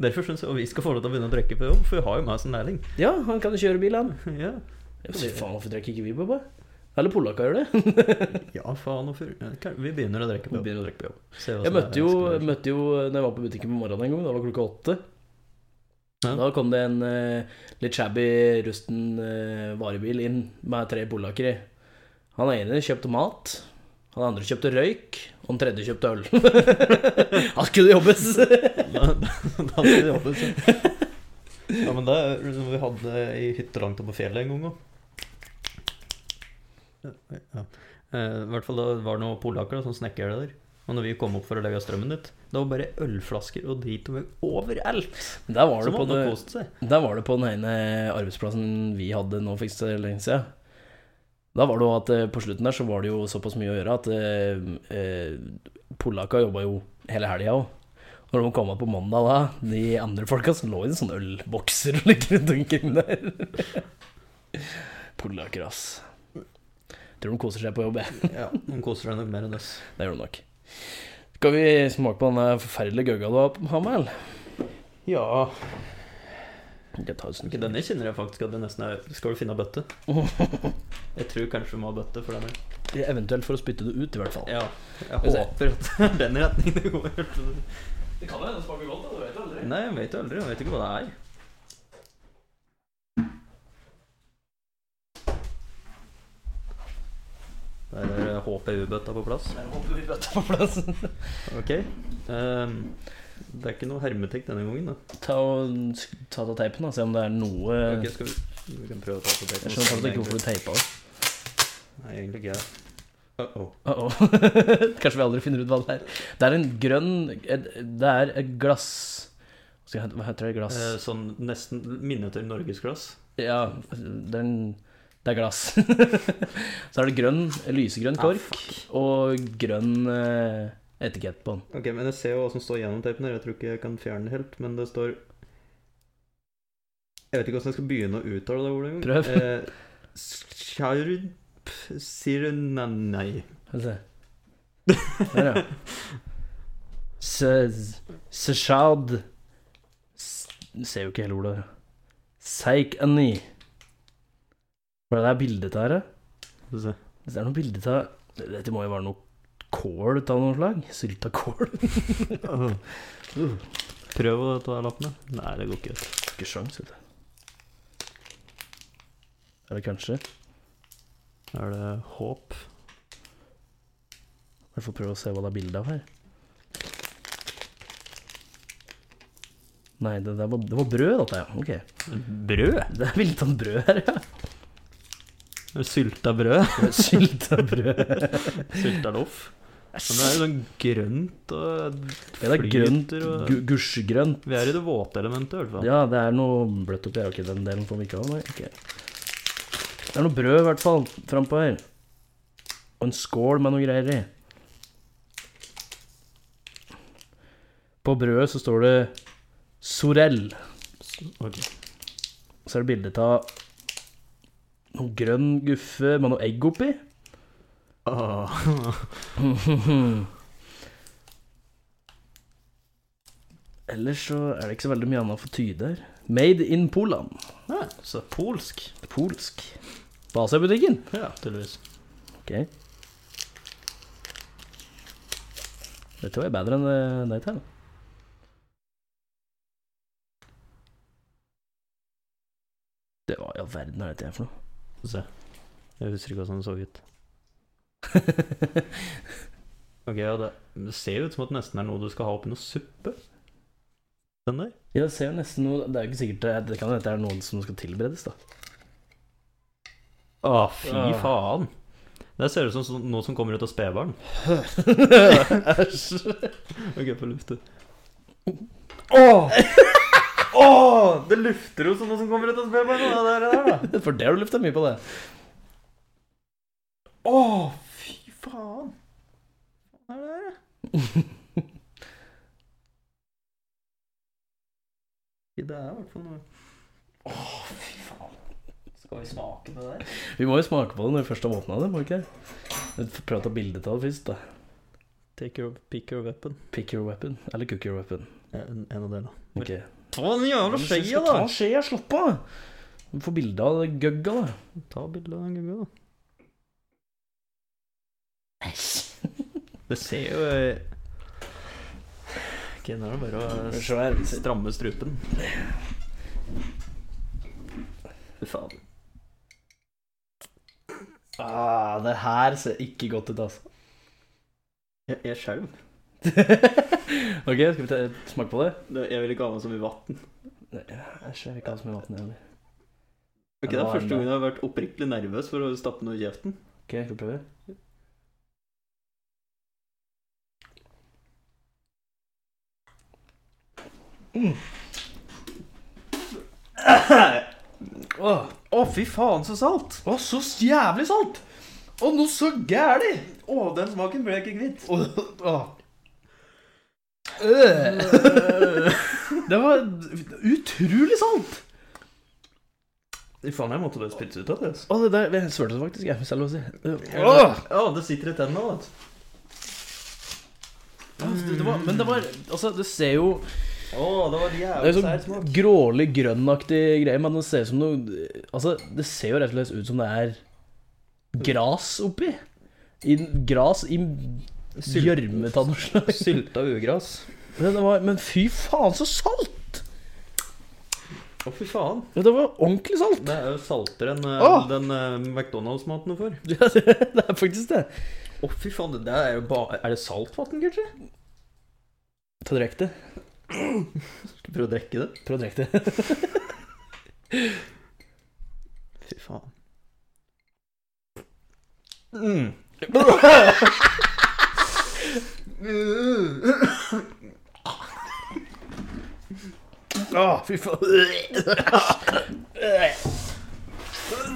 Derfor syns jeg og vi skal få lov til å begynne å drikke på jobb, for vi har jo meg som lærling.
Ja, han kan jo kjøre bil, han.
Ja.
Ja, Fy faen, hvorfor drikker ikke vi, pappa? Eller polakka gjør det.
Ja, faen og fyr. Vi begynner å drikke
Vi
på jobb.
begynner å drikke på jobb.
Se hva
Jeg
som Altså, er
møtte jo,
ekskluderende.
møtte jo Når jeg var på butikken på morgenen en gang, da var klokka åtte.
Ja.
Da kom det en eh, litt shabby rusten eh, varebil inn med tre polakker i. Han ene kjøpte mat, han andre kjøpte røyk, og den tredje kjøpte øl. Han skulle jobbes!
Da- da- da hadde vi jobbet, så. Ja, men det er liksom vi hadde ei hytte langt oppe på fjellet en gang òg. Ja. Eh, I hvert fall da var det noen polakker da, som snekra det der. Og når vi kom opp for å legge strømmen dit, det var bare ølflasker og drit og møkk overalt!
Der var det
Som
på
hadde
det
kost seg.
Der var det på den ene arbeidsplassen vi hadde nå for ikke så lenge siden. Da var det jo at eh, på slutten der så var det jo såpass mye å gjøre at eh, eh, polakka jobba jo hele helga òg. Når de kom opp på mandag da, de andre folka som lå i sånne ølbokser og ligger rundt omkring der. Polakker, ass. Tror de koser seg på jobb, jeg.
Ja, de koser seg nok mer enn oss.
Det gjør de nok. Skal vi smake på denne forferdelige gøgga du har med, eller?
Ja,
Jeg tar et
ok,
snitt.
denne kjenner jeg faktisk at det nesten er Skal du finne bøtte? Jeg tror kanskje vi må ha bøtte for denne.
Eventuelt for å spytte det ut, i hvert fall.
Ja, jeg håper at det er den retningen det går.
Det kan hende det smaker godt, da. Du vet aldri.
Nei, jeg vet jo aldri. Jeg vet ikke hva det er. Der er eh, HPU-bøtta på plass.
Jeg håper vi bøtter på plass.
Ok. ehm, det er ikke noe hermetikk denne gangen, da.
Ta og sk- ta av teipen, da. Se om det er noe
Ok, skal vi, vi kan prøve å ta på det.
Jeg skjønner fortsatt ikke hvorfor du teipa det.
Nei, egentlig ikke. Uh -oh.
Uh -oh. Kanskje vi aldri finner ut hva det er. Det er en grønn et- Det er et glass Hva skal jeg- Hva heter det?
Eh,
Glass?
sånn nesten minneter norgesglass.
Ja, det er, en, det er glass. Så er det grønn, lysegrønn
Ah,
kork og grønn eh, etikett på den.
Ok, men jeg ser jo hva som står gjennom teipen her. Jeg tror ikke jeg kan fjerne det helt, men det står Jeg vet ikke hvordan jeg skal begynne å uttale det ordet engang.
Prøv.
Eh, Skjarp Sirunanei.
Skal vi se. Der, ja. Se- Seshad S- Ser jo ikke hele ordet. Seik ani. Hva er det der bildet her? da?
Skal vi se.
Hvis det er noe bilde av Dette må jo være noe kål av noe slag? Sylta kål?
Prøv å ta lappene. Nei, det går ikke. ut.
Ikke sjans, vet du. Eller kanskje?
Er det håp?
Jeg får prøve å se hva det er bilde av her. Nei, det, der var, det var brød, dette, ja. Ok.
Brød?
Det er bilde av brød her, ja.
Sylta brød?
Sylta brød.
Sylta loff? Men det er jo sånn grønt og
Ja, det er grønt.
flyter og-
gu- Gusjegrønt.
Vi er i det våte elementet, i hvert fall.
Ja, det er noe bløtt oppi her. Ok, den delen får vi ikke ha. Nei, ok. Det er noe brød, i hvert fall, frampå her. Og en skål med noe greier i. På brødet så står det sorell.
Ok.
Så er det bilde av noe grønn guffe med noe egg oppi.
Ah.
Ellers så er det ikke så veldig mye annet å få tyde her. Made in Poland.
Ja, så polsk.
Polsk. På Asia-butikken.
Ja, tydeligvis.
Ok Dette var jo bedre enn eh, deg til Det var i all verden er dette her for
Få Se. Jeg husker ikke hvordan den så ut.
noe
Ok, ja, det, det ser jo ut som at det nesten er noe du skal ha oppi noe suppe. Den der.
Ja, det ser jo nesten noe Det er jo ikke sikkert Det, det kan jo dette er noen som skal tilberedes da
Å, fy
Ah.
faen. Det ser ut som sånn- noe som kommer ut av spedbarn.
Æsj
Ok, på luftet.
Åh
det lufter jo som noe som kommer ut av spedbarn. Det er det der, da.
For det har du luftet mye på det
Å, fy faen. Hva er det der, da? Det er i hvert fall noe Skal vi smake på det der?
Vi må jo smake på det når vi først har åpnet det, må vi ikke det? Prøv å ta bildet av det først da
Take your, pick your weapon.
Pick your weapon Eller cook your weapon
En, en av delene.
Ok
Ta den jævla
Men hvis vi skal Ta skjea, slapp av! Du får bilde av det gøgga, da.
Ta bilde av den gubben, da. Det ser jo eh, Ok, nå er det bare å s-
Svær.
stramme strupen. Fy faen.
Ah, det her ser ikke godt ut, altså.
Jeg, jeg skjelv.
ok, skal vi ta, smake på det?
Det- Jeg vil ikke ha meg som i vann.
Nei, Æsj, jeg vil ikke ha så mye vann heller.
Ok,
Ja, det
det er
var
første
den,
gang jeg har vært oppriktig nervøs for å stappe noe i kjeften.
Ok, skal vi prøve? Å,
Å, fy faen, så salt!
å, så jævlig salt! Å, noe så gæli!
Å, den smaken ble jeg ikke kvitt.
Å, å. Øh. Det var utrolig salt!
Fy faen, jeg måtte bare spytte ut av det. altså.
Å, det der Jeg svølte faktisk, jeg, hvis det er lov å si. Øh.
Å,
Åh!
det sitter i tennene, vet du.
Ja, det, det var, men det var Altså, det ser jo
Å, det var
Det
jævlig
er jo
sær
sånn
smak.
grålig grønnaktig greie, men det ser, ut som noe, altså, det ser jo rett og slett ut som det er gras oppi. I, gras i gjørmet av noe slags.
Sylta ugress.
Men, det var- men fy faen, så salt!
Å, fy faen.
Ja, Det var ordentlig salt.
Det er jo saltere enn eh,
Åh!
den eh, McDonald's-maten du får.
Ja, det, det er faktisk det.
Å, fy faen, det der er jo bare Er det saltvann, kanskje?
Ta direkte.
Skal prøve å drikke det.
Prøv direkte.
Fy faen.
Å, fy faen.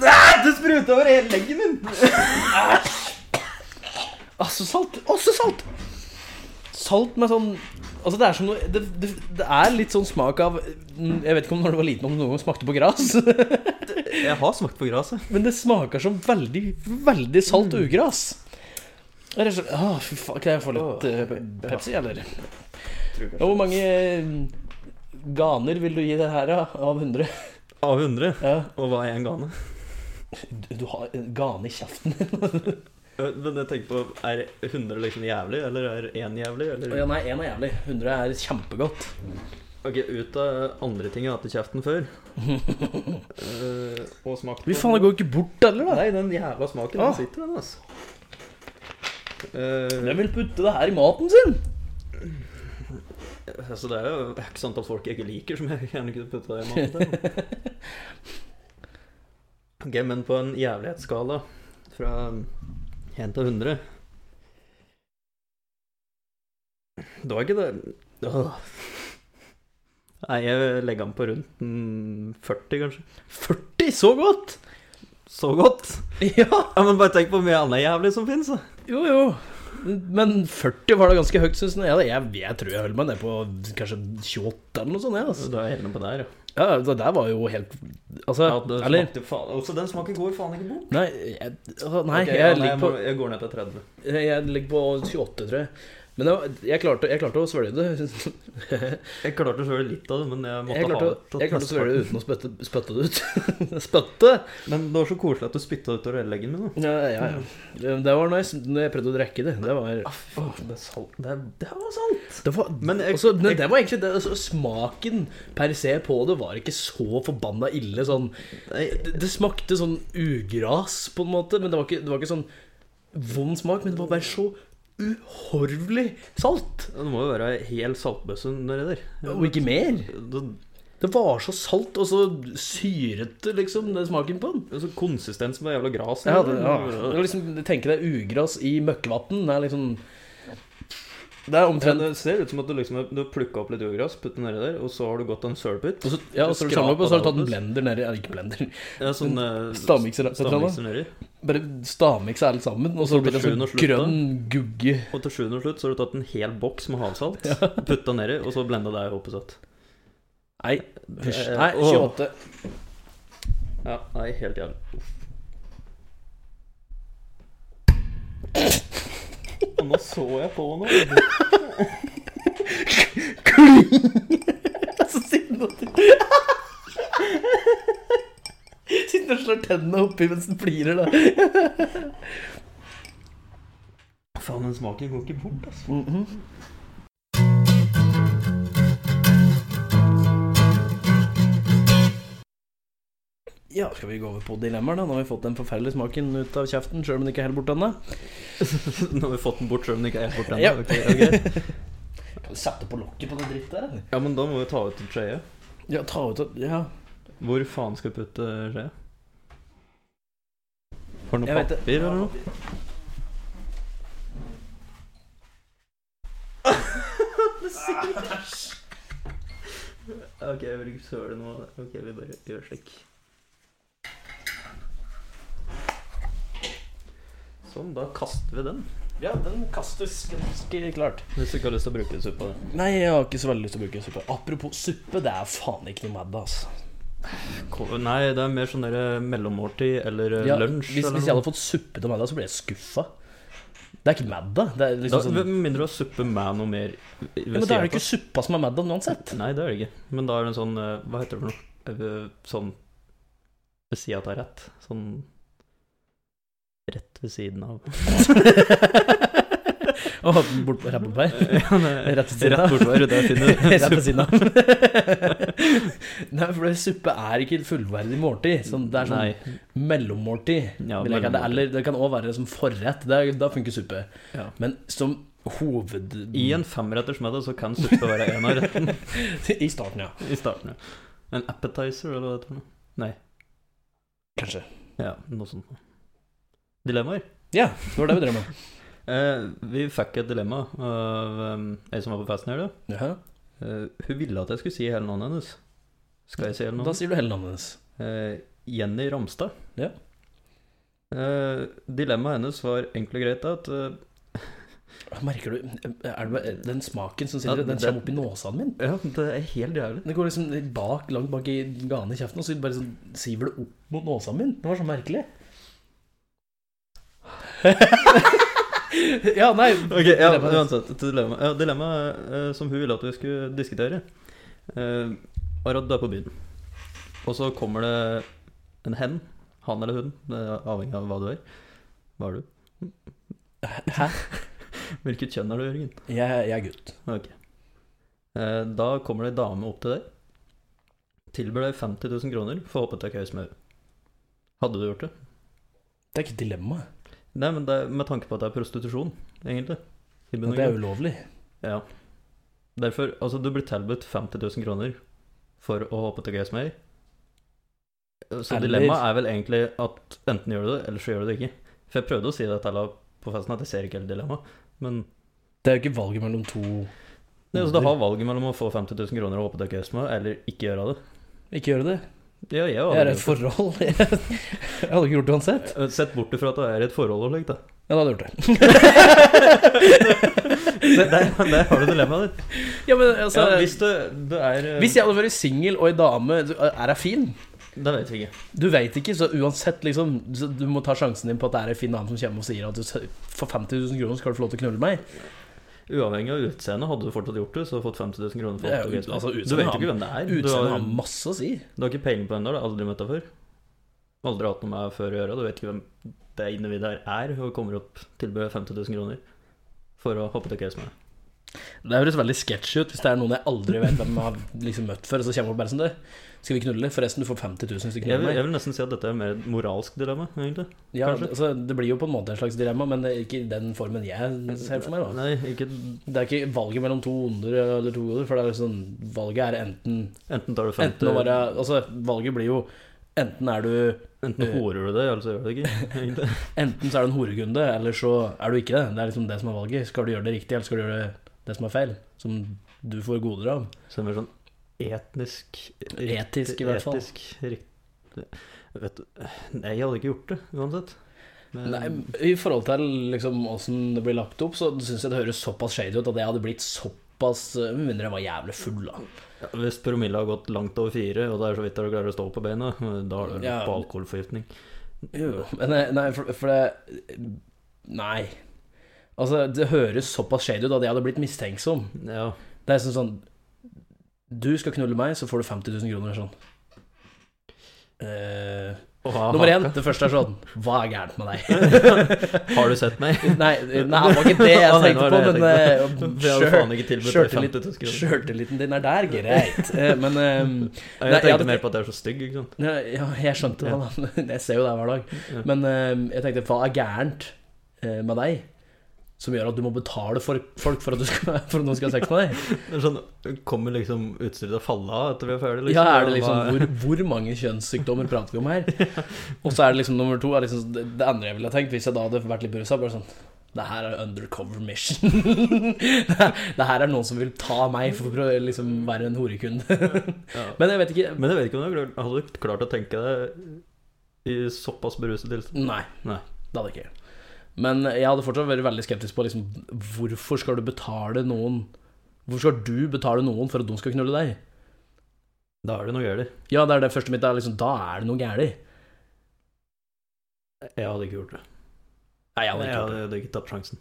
Det spruta over hele leggen min!
Å, Ah, så salt. Å, så salt! Salt med sånn Altså, det er som noe det, det, det er litt sånn smak av mm, Jeg vet ikke om når du var liten, om du noen gang smakte på gras.
Jeg har smakt på gresset.
Men det smaker som veldig, veldig salt ugras. Det er så, å, fy faen, kan jeg få litt eh, pe- Pepsi, eller? Ja, hvor mange eh, ganer vil du gi det her da, av 100?
Av 100.
Ja.
Og hva er en gane?
Du, du har en gane i kjeften.
Eh, Men jeg tenker på, er 100 liksom jævlig, eller er 1 jævlig? Eller?
nei, én er jævlig. 100 er kjempegodt.
Ok, ut av andre ting jeg har hatt i kjeften før. Eh, og smakt
Vi faen, det går ikke bort heller, da.
Nei, den jævla smaken,
Ah.
den sitter, den, altså. Eh,
Hvem vil putte det her i maten sin?
altså, det er jo x antall folk jeg ikke liker, som jeg gjerne kunne putta i maten. til. ok, men på en jævlighetsskala fra 1 til 100 Det var ikke det Åh. Nei, jeg legger an på rundt mm, 40, kanskje.
40, så godt!
Så godt!
Ja,
Ja, men bare tenk på hvor mye annet jævlig som fins.
jo, jo. Men 40 var det ganske høyt, syns jeg. Jeg, jeg tror jeg holder meg ned på kanskje 28 eller noe sånt. Jeg, altså.
Du er jeg enig på der, ja.
Ja, det der var jo helt Altså,
ja det
eller
smakte faen Altså, den smaken går faen ikke bort.
Nei, jeg, altså, nei
Ok, ja,
jeg,
nei,
ligger
jeg,
på,
må- jeg går ned til 30.
jeg ligger på 28, tror jeg. Men jeg, jeg, klarte, jeg klarte å svølge det.
Jeg klarte å svøle litt av det, men jeg måtte
Jeg klarte, å-
ha
jeg klarte å svølge
det.
det uten å spytte, spytte det ut. spytte?
Men det var så koselig at du spytta utover hele leggen min. da.
Ja, ja, ja. Det- Det var når jeg, når jeg prøvde å drikke det. Ah, Det var,
Åh, det, er salt. Det, er- det var salt!
det var
Men jeg-
også, nei,
jeg-
det var egentlig det, altså, Smaken per se på det var ikke så forbanna ille. Sånn,
Nei,
det, det smakte sånn ugras, på en måte, men det var ikke, det var ikke sånn vond smak. Men det var bare så uhorvelig salt.
det må jo være ei hel saltbøsse nedi der.
Og ikke mer.
Det,
Det var så salt og så syrete, liksom, den smaken på den.
altså, konsistens med jævla gras.
Ja, det,
nedi
ja.
der.
Jeg liksom, tenker deg ugras i møkkevann. Det er liksom Det er
Ja,
omtrent
det ser ut som at du liksom har- du har plukka opp litt ugress, puttet nedi der, og så har du gått en sølpytt.
og så, ja, og så har du samlet opp, og så har du tatt en blender nedi Eller ikke blender.
Ja, sånn eh,
Stavmikser. setter du den da?
stavmikser nedi.
Bare stavmikse alt sammen, og så
Og så
blir det
til
en sånn
sjuende og slutt, da.
grønn gugge.
Og til sjuende og slutt så har du tatt en hel boks med havsalt, putta nedi, og så blenda det opp og satt.
Nei, hysj.
Eh,
Nei,
åh.
28.
Ja, nei, helt jævlig. Og nå så jeg på noe.
Så sitter den og Sitter og slår tennene oppi mens den flirer, da.
Faen, den smaken går ikke bort, altså.
Mhm. Ja, skal vi gå over på dilemmaer, da? Nå har vi fått den forferdelige smaken ut av kjeften, sjøl om den ikke er helt borte ennå.
Nå har vi fått den bort, selv om den ikke er helt borte
Ja.
ennå. Ok, ok.
Sette på lokket på det drittet der, eller?
Ja, men da må vi ta ut skjea.
Ja, ta ut det Ja.
Hvor faen skal vi putte skjea? Har du
Jeg
noe
vet det.
papir eller noe? Ok, jeg vil ikke søle nå. Ok, vi bare gjør slik. Sånn, da kaster vi den.
Ja, den kastes ganske klart.
Hvis du ikke har lyst til å bruke suppa.
Nei, jeg har ikke så veldig lyst til å bruke suppe. Apropos suppe, det er faen ikke noe med det, altså.
Ko- Nei, det er mer sånn der mellommåltid eller eh,
Ja,
lunsj.
hvis,
eller
hvis jeg hadde fått suppe til middag, så ble jeg skuffa. Det er ikke middag. Det er liksom
Da-
sånn,
Med mindre du har suppe med noe mer. ved
ja, men da
siden
er det
av.
ikke suppa som er middag uansett.
Nei, det er det ikke. Men da er det en sånn eh, Hva heter det for noe? Eh, Sånn ved sida av rett. Sånn Rett ved siden av.
Og bort på rævbei.
Ja, det-
Rett ved siden av.
Rett bortover, der finner du
Rett ved siden av. Nei, for det- suppe er ikke et fullverdig måltid. Sånn, det er sånn
Nei.
mellommåltid.
Ja,
vil jeg kalle det.
mellommåltid.
Eller det kan òg være som forrett. Det er, da funker suppe.
Ja.
Men som hoved...
I en femretters middag så kan suppe være en av rettene
I starten, ja.
i starten. ja. En appetizer, eller hva det heter for noe.
Kanskje.
Ja, noe sånt. Dilemmaer?
Ja, det var det vi drev med.
Eh, vi fikk et dilemma av um, ei som var på festen her. da.
Jaha.
Eh, hun ville at jeg skulle si hele navnet hennes. Skal jeg si hele
Da
navnet?
sier du hele navnet hennes.
Eh, Jenny Ramstad.
Ja.
Eh, dilemmaet hennes var enkelt og greit at eh,
Merker du eh, er det, Den smaken som
Ja,
sitter Den
det-
kommer opp i nåsene min.
Ja, det er helt jævlig.
Det går liksom bak, langt bak i ganen i kjeften, og så bare sånn, siver det opp mot nåsene min. Det var så merkelig. ja, nei
Ok, ja,
Dilemma.
uansett, et dilemma, ja, dilemma eh, som hun ville at vi skulle diskutere, eh, var at du er på byen. Og så kommer det en hen, han eller hun, det er avhengig av hva du er. Hva er du?
Hæ?
Hvilket kjønn er du, Jørgen?
Jeg, jeg er gutt.
Ok. Eh, da kommer det ei dame opp til deg, tilbyr deg 50 000 kroner for å hoppe til køys med henne. Hadde du gjort det?
Det er ikke et dilemma.
Nei, men det, er med tanke på at det er prostitusjon, egentlig. i bunn og
Det er
grunn.
ulovlig.
Ja. Derfor, altså du blir tilbudt 50 000 kroner for å hoppe til Gaysmay. Så
Eller-
dilemmaet er vel egentlig at enten gjør du det, eller så gjør du det ikke. For jeg prøvde å si det til henne på festen, at jeg ser ikke hele dilemmaet. Men
Det er jo ikke valget mellom to
det, altså, du har valget mellom å få 50 000 kroner og hoppe til Gaysmay, eller ikke gjøre det.
Ikke gjøre det.
Ja, jeg
Jeg
har
er i et forhold. Jeg hadde ikke gjort det uansett.
Sett bort ifra at det er i et forhold og slikt, da.
Jeg hadde jeg gjort det.
Der, der, der har du dilemmaet ditt.
Ja, men altså
Ja,
hvis,
hvis du, du er eh,
jeg hadde vært singel og ei dame Er hun fin?
Det vet vi ikke.
Du veit ikke, så uansett, liksom så Du må ta sjansen din på at det er en fin dame som kommer og sier at du, for 50 000 kroner skal du få lov til å knulle meg.
Uavhengig av utseendet, hadde du fortsatt gjort det, så hadde du fått 50 000 kroner for
Det er
å
jo-
hoppe til Gaysmay.
altså,
Du
utseendet
vet
har-
jo ikke hvem det er. Du
Utseendet
har-
har masse å si.
Du har ikke peiling på hvem det er, du har aldri møtt deg før. Aldri hatt noe med deg før å gjøre. Du vet ikke hvem det individet her er, og kommer opp tilbyr deg 50 000 kroner for å hoppe til case med. deg.
Det høres veldig sketsj ut hvis det er noen jeg aldri vet hvem jeg har liksom møtt før. Og så kommer det bare sånn det. Skal vi knulle? Forresten, du får 50 000 hvis du
Jeg
knuller
vil,
meg.
jeg vil nesten si at dette er mer et moralsk dilemma, egentlig.
Ja,
kanskje.
altså, det blir jo på en måte en slags dilemma, men det er ikke i den formen jeg ser for meg. da
Nei, ikke
Det er ikke valget mellom to onder eller to goder, for det er sånn, valget er enten
Enten tar du 50
Enten å være Altså, valget blir jo Enten er du
enten horer du deg, eller så gjør du det ikke. egentlig.
Enten så er du en horegunde, eller så er du ikke det. Det er liksom det som er valget. Skal du gjøre det riktig, eller skal du gjøre det, det som er feil? Som du får goder av.
Så det er mer sånn etnisk
Etisk, i hvert fall.
Etisk riktig Vet du Nei, jeg hadde ikke gjort det, uansett. Men-
Nei, I forhold til liksom åssen det blir lagt opp, så syns jeg det høres såpass shady ut at jeg hadde blitt såpass eh, Med mindre jeg var jævlig full, da.
Ja, Hvis promille har gått langt over fire, og det er så vidt du klarer å stå på beina, da har du
Ja.
på alkoholforgiftning.
Jo, men nei, nei for, for det Nei. Altså, det høres såpass shady ut at jeg hadde blitt mistenksom.
Ja,
Det er sånn sånn Du skal knulle meg, så får du 50 000 kroner. Sånn. Eh, nummer én, det første er sånn Hva er gærent med deg?
Har du sett meg?
nei, nei, det var ikke det jeg
Ja, nei, det
tenkte
var
på,
det jeg
men eh,
Vi har jo
skjør-
faen ikke tilbudt deg
skjørtelitt-
50 000 kroner.
Sjøltilliten din er der, greit. Eh, Men eh,
Ja,
Nei,
Jeg
jeg hadde-
tenkte mer på at jeg er så stygg, ikke sant.
ja, jeg skjønte det, da. Jeg ser jo det hver dag.
Ja.
Men eh, jeg tenkte, hva er gærent eh, med deg som gjør at du må betale for folk for at, du skal, for at noen skal ha sex med deg?
Det er sånn, Kommer liksom utstyret til å falle av etter vi er ferdig?
Ja, er det
Hva-
liksom hvor, hvor mange kjønnssykdommer prater vi om her? Og så er det liksom nummer to er liksom, Det det andre jeg ville tenkt hvis jeg da hadde vært litt berusa, bare sånn det her er undercover mission. det her er noen som vil ta meg for å liksom være en horekunde.
Ja.
Men jeg vet ikke
Men jeg vet ikke om du har klart- hadde du klart å tenke deg i såpass beruset tilstand.
Nei.
Nei.
Det hadde jeg ikke. Men jeg hadde fortsatt vært veldig skeptisk på liksom, hvorfor skal du betale noen Hvorfor skal du betale noen for at de skal knulle deg?
Da er det noe galt.
Ja, det er det første mitt. Det er liksom, da er det noe galt.
Jeg hadde ikke gjort det.
Nei, jeg
Jeg
hadde ikke gjort det.
hadde, hadde ikke tatt sjansen.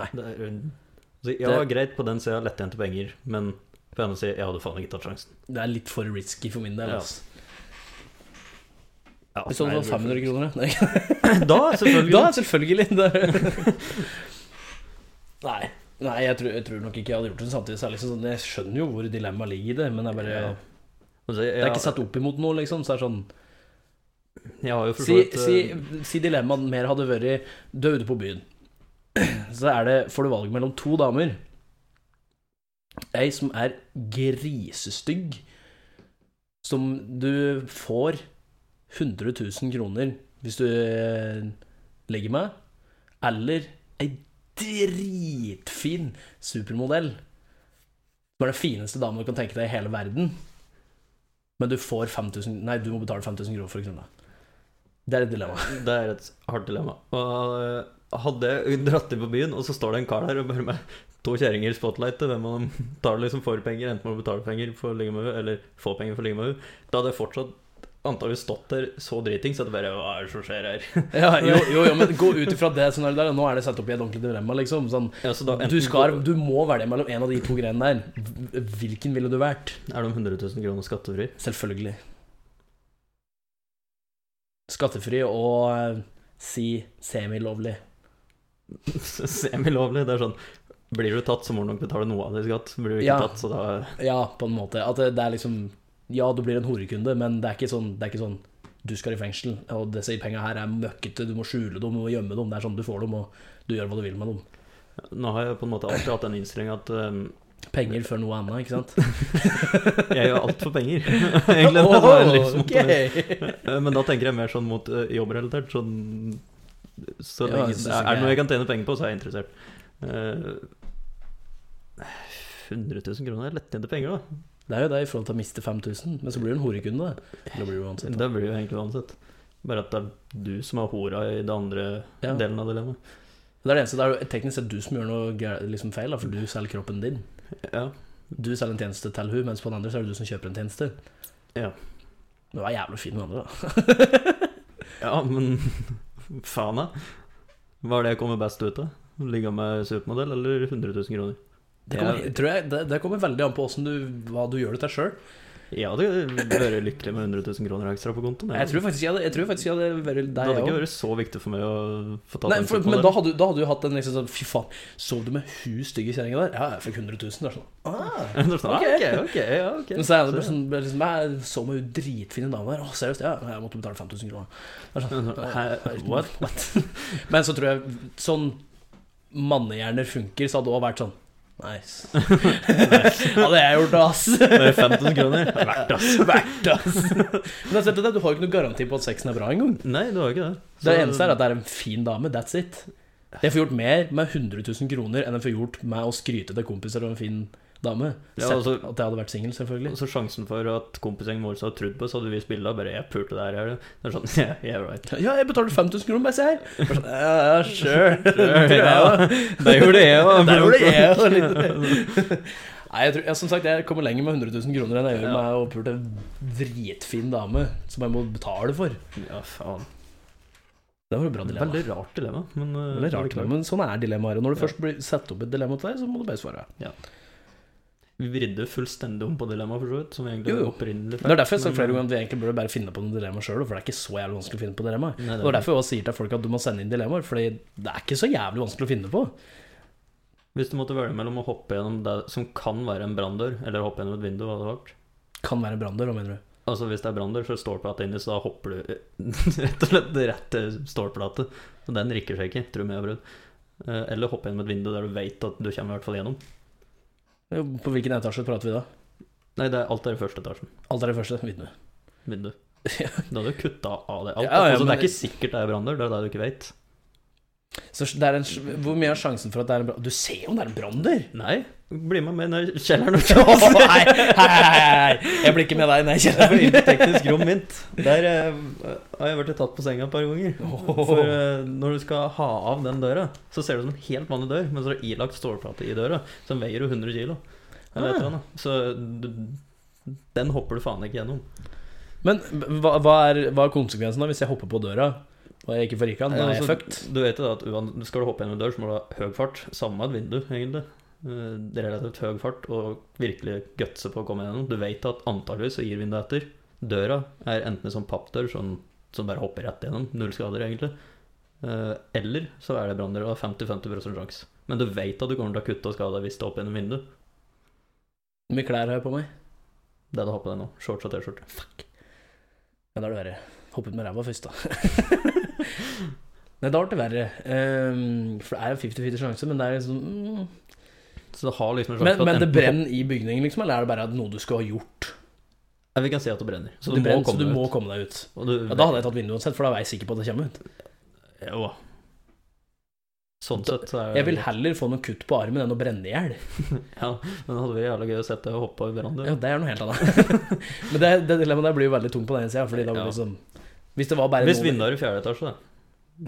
Nei.
Det er, altså, ja, greit, på den sida lette jeg til penger, men på den andre sida, jeg hadde faen ikke tatt sjansen.
Det er litt for risky for min del.
Ja.
Altså.
Ja,
Hvis det
nei,
var 500 Sånn kroner, ja. Nei.
Da, selvfølgelig.
Da, selvfølgelig. Det. Nei. Nei, jeg tror, jeg tror nok ikke jeg hadde gjort det samtidig. Så er det liksom sånn, jeg skjønner jo hvor dilemmaet ligger i det, men det er bare
Ja. Altså,
Det er
jeg,
ikke satt opp imot noe, liksom. Så er det sånn
jeg har jo for så
Si,
vidt
si,
eh,
si dilemmaet mer hadde vært Du er ute på byen. Så er det, får du valget mellom to damer. Ei som er grisestygg, som du får 100 000 kroner hvis du eh, legger meg, eller ei dritfin supermodell. Som er den fineste damen du kan tenke deg i hele verden. Men du får 5000 Nei, du må betale 5000 kroner for å knulle. Det er et dilemma.
Det er et hardt dilemma. Og eh, hadde jeg dratt inn på byen, og så står det en kar der og bare med to kjerringer i spotlight, og hvem av dem tar det liksom for penger, enten må du betale penger for å ligge med henne, eller få penger for å ligge med henne, da hadde jeg fortsatt antagelig stått der så driting, så at det bare Hva er det som skjer her?
Ja, jo, jo, jo, men gå ut ifra det scenarioet der. Nå er det satt opp i et ordentlig dilemma. Liksom. Sånn,
Ja, så da,
du,
enten
skal, du må velge mellom en av de to greiene der. Hv- Hvilken ville du valgt?
Er de 100 000 kroner skattefri?
Selvfølgelig. Skattefri og eh, si semilovlig.
Semilovlig. Det er sånn Blir du tatt, så må du nok betale noe av det i skatt. Blir du ikke
Ja.
tatt, så da
Ja, på en måte. At det, det er liksom Ja, du blir en horekunde, men det er ikke sånn, det er ikke sånn du skal i fengsel, og disse penga her er møkkete, du må skjule dem og gjemme dem. Det er sånn du får dem, og du gjør hva du vil med dem.
Nå har jeg på en måte alltid hatt den innstillinga at um,
Penger før noe annet, ikke sant?
jeg gjør alt for penger. Egentlig. Det var en sånn livsmotto mitt.
Ok.
Eh, Men da tenker jeg mer sånn mot eh, jobbrelatert. Sånn så
Ja,
lenge,
jeg synes
Er
ikke
det noe
jeg-
jeg kan tjene penger på, så er jeg interessert. Eh, 100 000 kroner er lettjente penger, da.
Det er jo det i forhold til å miste 5000, men så blir du en horekunde. da. Eller blir du uansett.
Det blir jo egentlig uansett. Bare at det er du som er hora i den andre
Ja.
delen av dilemmaet.
Det er det eneste, det er jo teknisk sett du som gjør noe gæ- liksom feil, da, for du selger kroppen din.
Ja.
Du selger en tjeneste til hun, mens på den andre så er det du som kjøper en tjeneste.
Ja.
Men du er jævlig fin med andre, da.
Ja, men faen da. Hva er det jeg kommer best ut av? Ligge med supermodell eller 100 000 kroner?
Det kommer, tror jeg, det, det kommer veldig an på hvordan du, hva du gjør det til sjøl.
Jeg hadde vært lykkelig med 100 000 kroner ekstra på kontoen.
Jeg tror faktisk jeg hadde, jeg tror faktisk jeg hadde vært
det
der,
hadde
jeg
ikke
òg.
vært så viktig for meg å få tatt
Nei,
en
for, men da
supermodell.
hadde, da hadde du hatt en liksom sånn Fy faen, sov du med hun stygge kjerringa der? Ja, jeg fikk 100 000. Det er sånn. Ah.
Det er sånn,
Ok.
«Ah, ok, ok, ja, ok.
Men så er det bare sånn, bare liksom, jeg så meg jo dritfine damer Åh, seriøst, ja, jeg måtte betale 5000 kroner Det er sånn,
Hæ,
«Hæ,
what?»
Men så tror jeg, sånn Mannehjerner funker, så hadde det også vært sånn Nice Hadde jeg gjort det, ass
Det er 5000 kroner. Det er Verdt det, altså.
Vært, ass Men altså, det, du har jo ikke noe garanti på at sexen er bra en gang
Nei, det var jo ikke det. Så-
Det eneste er at det er en fin dame, that's it Jeg får gjort mer med 100 000 kroner Enn jeg får gjort med å skryte til kompiser og en fin dame
Ja,
Selv
altså-
at jeg hadde vært single, selvfølgelig
Så sjansen for at kompisgjengen vår hadde trodd på, så hadde vi spilla bare 'jeg pulte det her', gjør du? Det er sånn, yeah, yeah right.
Ja, jeg betalte 5000 kroner, bare se her. Bare sånn, Ja, ja, sure.
Sure, ja. Det gjorde jeg òg.
Det gjorde jeg også, litt. Nei, jeg tror, jeg, som sagt, jeg kommer lenger med 100 000 kroner enn jeg gjør
Ja.
med å pule en dritfin dame som jeg må betale for.
Ja, faen.
Det var et bra dilemma.
Veldig rart dilemma. Men, eh,
Veldig rart,
klart.
men sånn er dilemmaer. Og når du
Ja.
først blir satt opp et dilemma til deg, så må du bare svare.
Vi vridde fullstendig om på dilemmaet, for så vidt. Som vi egentlig
Jo, jo.
opprinnelig
Det er derfor jeg har sagt
Mm.
flere ganger at vi egentlig burde bare finne på noen dilemma sjøl, for det er ikke så jævlig vanskelig å finne på dilemma.
Nei,
Det er derfor jeg også sier til folk at du må sende inn dilemmaer, Fordi det er ikke så jævlig vanskelig å finne på.
Hvis du måtte velge mellom å hoppe gjennom det som kan være en branndør, eller hoppe gjennom et vindu, hva hadde det vært?
Kan være en branndør, hva mener du?
Altså Hvis det er branndør, så står det inni, så da hopper du eh, rett og slett rett til stålplate. Så den rikker seg ikke, tror jeg. jeg har prøvd. Eh, Eller hoppe gjennom et vindu der du vet at du kommer i hvert fall gjennom.
På hvilken etasje prater vi da?
Nei, det er alt er i første etasjen.
Alt er det første. Vindu.
Vindu.
Ja.
Da hadde du kutta av det. Alt,
Ja, ja,
altså, Det
men-
er ikke sikkert det er branndør, det er det du ikke vet.
Så det er en, hvor mye er sjansen for at det er en brann? Du ser jo om det er en brann der!
Nei, Bli med meg ned i kjelleren og
Å,
kjøp
nei, hei, hei, hei. Jeg blir ikke med deg, nei,
Jeg var
kjenner
inne på teknisk rom mint. Der eh, har jeg blitt tatt på senga et par ganger. For eh, når du skal ha av den døra, så ser det ut som en helt vanlig dør, men så er det ilagt stålplate i døra, som veier jo 100 kilo. Eller
Ah.
et eller annet. Så du, den hopper du faen ikke gjennom.
Men hva, hva, er, hva er konsekvensen da hvis jeg hopper på døra og jeg ikke får rike han? Da er jeg
Altså,
fucked.
Du vet jo da at uan- skal du hoppe gjennom en dør, så må du ha høy fart. Samme et vindu, egentlig. Eh, Relativt høy fart og virkelig gutse på å komme gjennom. Du vet at antageligvis så gir vinduet etter. Døra er enten en sånn pappdør sånn, som bare hopper rett gjennom. Null skader, egentlig. Eh, Eller så er det branndør og 50-50 sjanse. Men du vet at du kommer til å kutte og skade deg hvis du hopper gjennom vinduet.
Hvor mye klær har jeg på meg?
Det er det å ha på deg nå. Shorts og T-skjorte.
Ja, da er det verre. Hoppet med ræva først, da. Nei, da ble det verre. Ehm, for det er jo 50-50 sjanse, men det er liksom mm.
Så det har liksom en sjanse
men,
for
men
at
det
enten du
brenner i bygningen, liksom? Eller er det bare at noe du skal ha gjort?
hopper- Ja, Vi kan si at det brenner. Så
Det
du må
brenner, så
komme
du
deg
må
ut.
komme deg ut.
Og du
Ja, da hadde jeg tatt vinduet uansett, for da var jeg sikker på at det kommer ut.
Jo. Sånn sett så er det
Jeg vil heller få noen kutt på armen enn å brenne i hjel.
Ja, men det hadde vært jævla gøy å sette deg og hoppe i verandaen.
Ja, det er noe helt annet. men det, det dilemmaet der blir jo veldig tungt på den ene sida, fordi da blir
Ja.
det liksom Hvis det var bare
Hvis
noen-
vinduet er i fjerde etasje, da.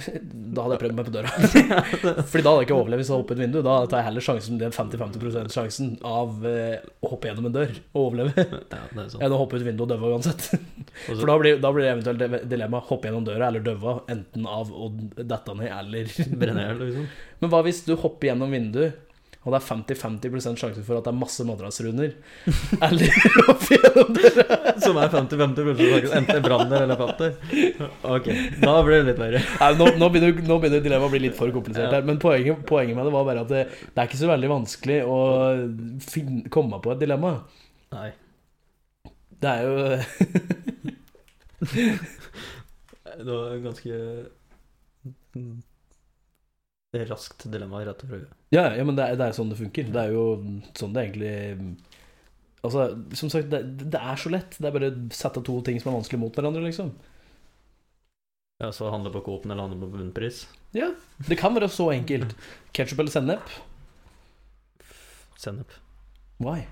Da hadde jeg prøvd meg på døra. Fordi da hadde jeg ikke overlevd hvis jeg hoppet ut vinduet. Da tar jeg heller sjansen, den 50-50 sjansen av eh, å hoppe gjennom en dør og overleve,
Ja, det er sant.
enn å hoppe ut vinduet og døve uansett.
sånn. Og
For
så
da blir, da blir det eventuelt dilemma hoppe gjennom døra eller døve, enten av å dette ned eller
brenner jeg, liksom.
Men hva hvis du hopper gjennom vinduet, og det er 50-50 sjanse for at det er masse madrasser under? Eller opp gjennom døra?
Som er 50-50 plutselig. Enten branner eller patter. Ok, da blir det litt verre.
Nei, nå, nå, begynner, nå begynner dilemmaet å bli litt for komplisert.
Ja.
her Men poenget, poenget med det var bare at det, det er ikke så veldig vanskelig å finne, komme på et dilemma.
Nei.
Det er jo
Det var en ganske raskt dilemma rett og slett.
Ja, ja men det er, det er sånn det funker. Det er jo sånn det egentlig Altså, som sagt, det, det er så lett. Det er bare å sette to ting som er vanskelig mot hverandre, liksom.
Ja, så handle på Coop eller handle på bunnpris.
Det kan være så enkelt. Ketsjup eller sennep?
Sennep.
Why?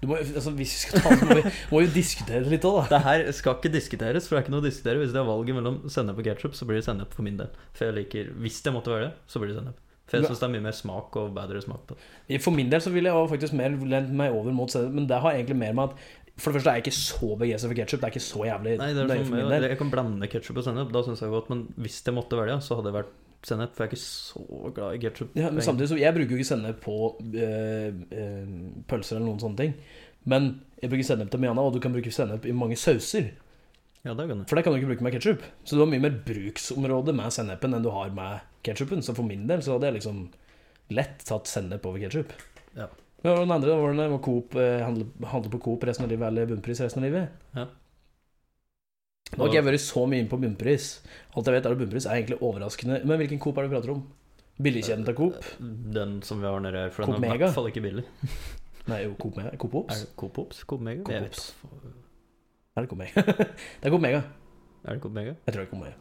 Du må, jo- altså, hvis vi skal ta det, så må vi må jo diskutere det litt òg, da.
Det her skal ikke diskuteres, for det er ikke noe å diskutere. Hvis det er valget mellom sennep og ketsjup, så blir det sennep for min del. For jeg liker Hvis det måtte være det, så blir det sennep. For jeg syns det er mye mer smak og bedre smak på det.
For min del så ville jeg jo faktisk mer lent meg over mot sennep, men det har egentlig mer med at For det første er jeg ikke så begeistra for ketsjup. Det er ikke så jævlig
Nei, det er
nøye
sånn,
for min del.
jeg, jeg kan blande ketsjup og sennep, da syns jeg det er godt. Men hvis jeg måtte velge, så hadde det vært sennep, for jeg er ikke så glad i ketsjup.
Ja, men samtidig så Jeg bruker jo ikke sennep på eh, eh, pølser eller noen sånne ting. Men jeg bruker sennep til mye annet, og du kan bruke sennep i mange sauser.
Ja, det kan jeg.
For det kan du ikke bruke med ketsjup. Så du har mye mer bruksområde med sennepen enn du har med ketsjupen. Så for min del så hadde jeg liksom lett tatt sennep over ketsjup.
Ja.
Men hva var den andre Hva var den der? Var Coop, eh, handle, handle på Coop resten av livet eller bunnpris resten av livet?
Ja.
Nå har ikke jeg vært så mye inne på bunnpris. Alt jeg vet er at bunnpris er egentlig overraskende. Men hvilken Coop er det du prater om? Billigkjeden til Coop?
Eh, Den som vi har nede her, for
Coop
den er i
Mega?
hvert fall ikke billig.
Nei, jo, Coop Mega. Coop
Er
Ops?
det Coop Ops? Coop Mega?
Coop
Jeg vet
Ops.
ikke.
Er det Coop Mega? det er Coop Mega.
Er det Coop Mega?
Jeg tror det er Coop Mega.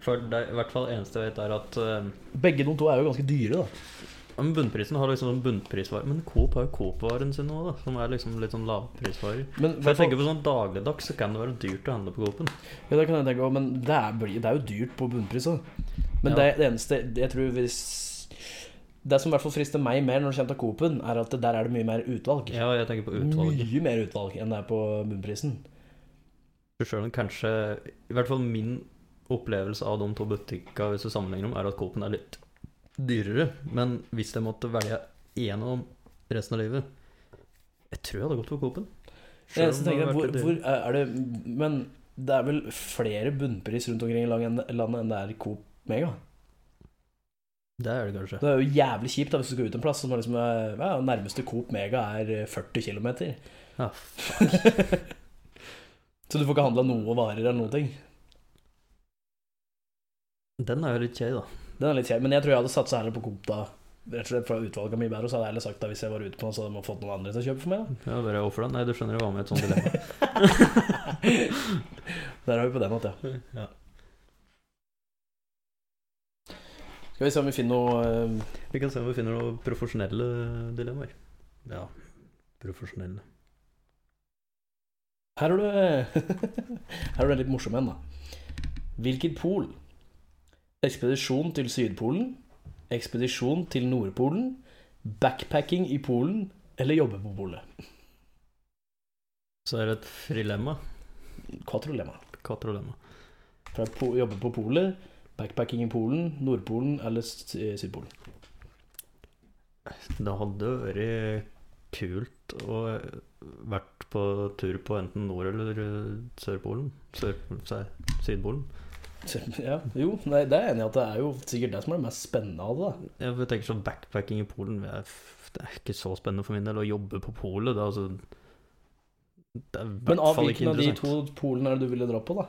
For det er i hvert fall eneste jeg vet, er at eh,
Begge de to er jo ganske dyre, da.
Ja, Men Bunnprisen har liksom en bunnprisvare. Men Coop har jo Coop-varen sin òg, da. Som er liksom litt sånn lavprisvarer.
Men,
For jeg tenker på sånn dagligdags så kan det være dyrt å handle på Coop-en.
Ja, det kan jeg tenke også, men det er, blir- det er jo dyrt på bunnpris òg. Men
Ja.
det, det eneste jeg tror hvis Det som i hvert fall frister meg mer når det kommer til Coop-en, er at der er det mye mer utvalg.
Ja, jeg tenker på utvalget.
Mye mer utvalg enn det er på bunnprisen.
Selv om kanskje I hvert fall min opplevelse av de to butikkene hvis du sammenligner dem, er at Coop-en er litt dyrere. Men hvis jeg måtte velge én av dem resten av livet Jeg tror jeg hadde gått for Coop-en.
Det
Selv om
eneste
det
jeg tenker, er,
hadde
hvor,
vært litt
hvor
dyrere.
er er det Men det er vel flere bunnpris rundt omkring i lang- landet enn det er Coop Mega?
Det er det kanskje.
Det er jo jævlig kjipt da hvis du skal ut en plass som er liksom eh, ja, Nærmeste Coop Mega er eh, 40 km.
Ja,
Så du får ikke handla noe varer eller noen ting.
Den er jo litt kjei, da.
Den er litt kjip, men jeg tror jeg hadde satsa heller på Coop da. Rett og slett fra utvalget mye bedre, og så hadde jeg heller sagt da hvis jeg var ute på den, så hadde man fått noen andre til å kjøpe for meg. da.
Ja, bare offer den. Nei, du skjønner det var med i et sånt dilemma.
Der er vi på den måten,
ja.
ja. Skal vi se om vi finner noe eh,
Vi kan se om vi finner noen profesjonelle dilemmaer. Ja, profesjonelle.
Her er du Her er du litt morsom en, da. Hvilket pol? Ekspedisjon til Sydpolen? Ekspedisjon til Nordpolen? Backpacking i Polen? Eller jobbe på polet?
Så er det et frilemma.
Quatrolemma.
Kvatrolemma.
Fra po jobbe på polet, backpacking i Polen, Nordpolen eller S- Sydpolen.
Det hadde vært kult å vært på tur på enten Nord- eller Sørpolen. Sør, sær- Sydpolen.
Så, ja, jo, nei, det er jeg enig i at det er jo sikkert det som er det mest spennende av det. da.
Ja, for Jeg tenker sånn backpacking i Polen det er, det er ikke så spennende for min del. Å jobbe på polet, det er altså Det er i
Men
hvert
av
fall ikke
hvilken av de
interessant.
to polene er det du ville dra på, da?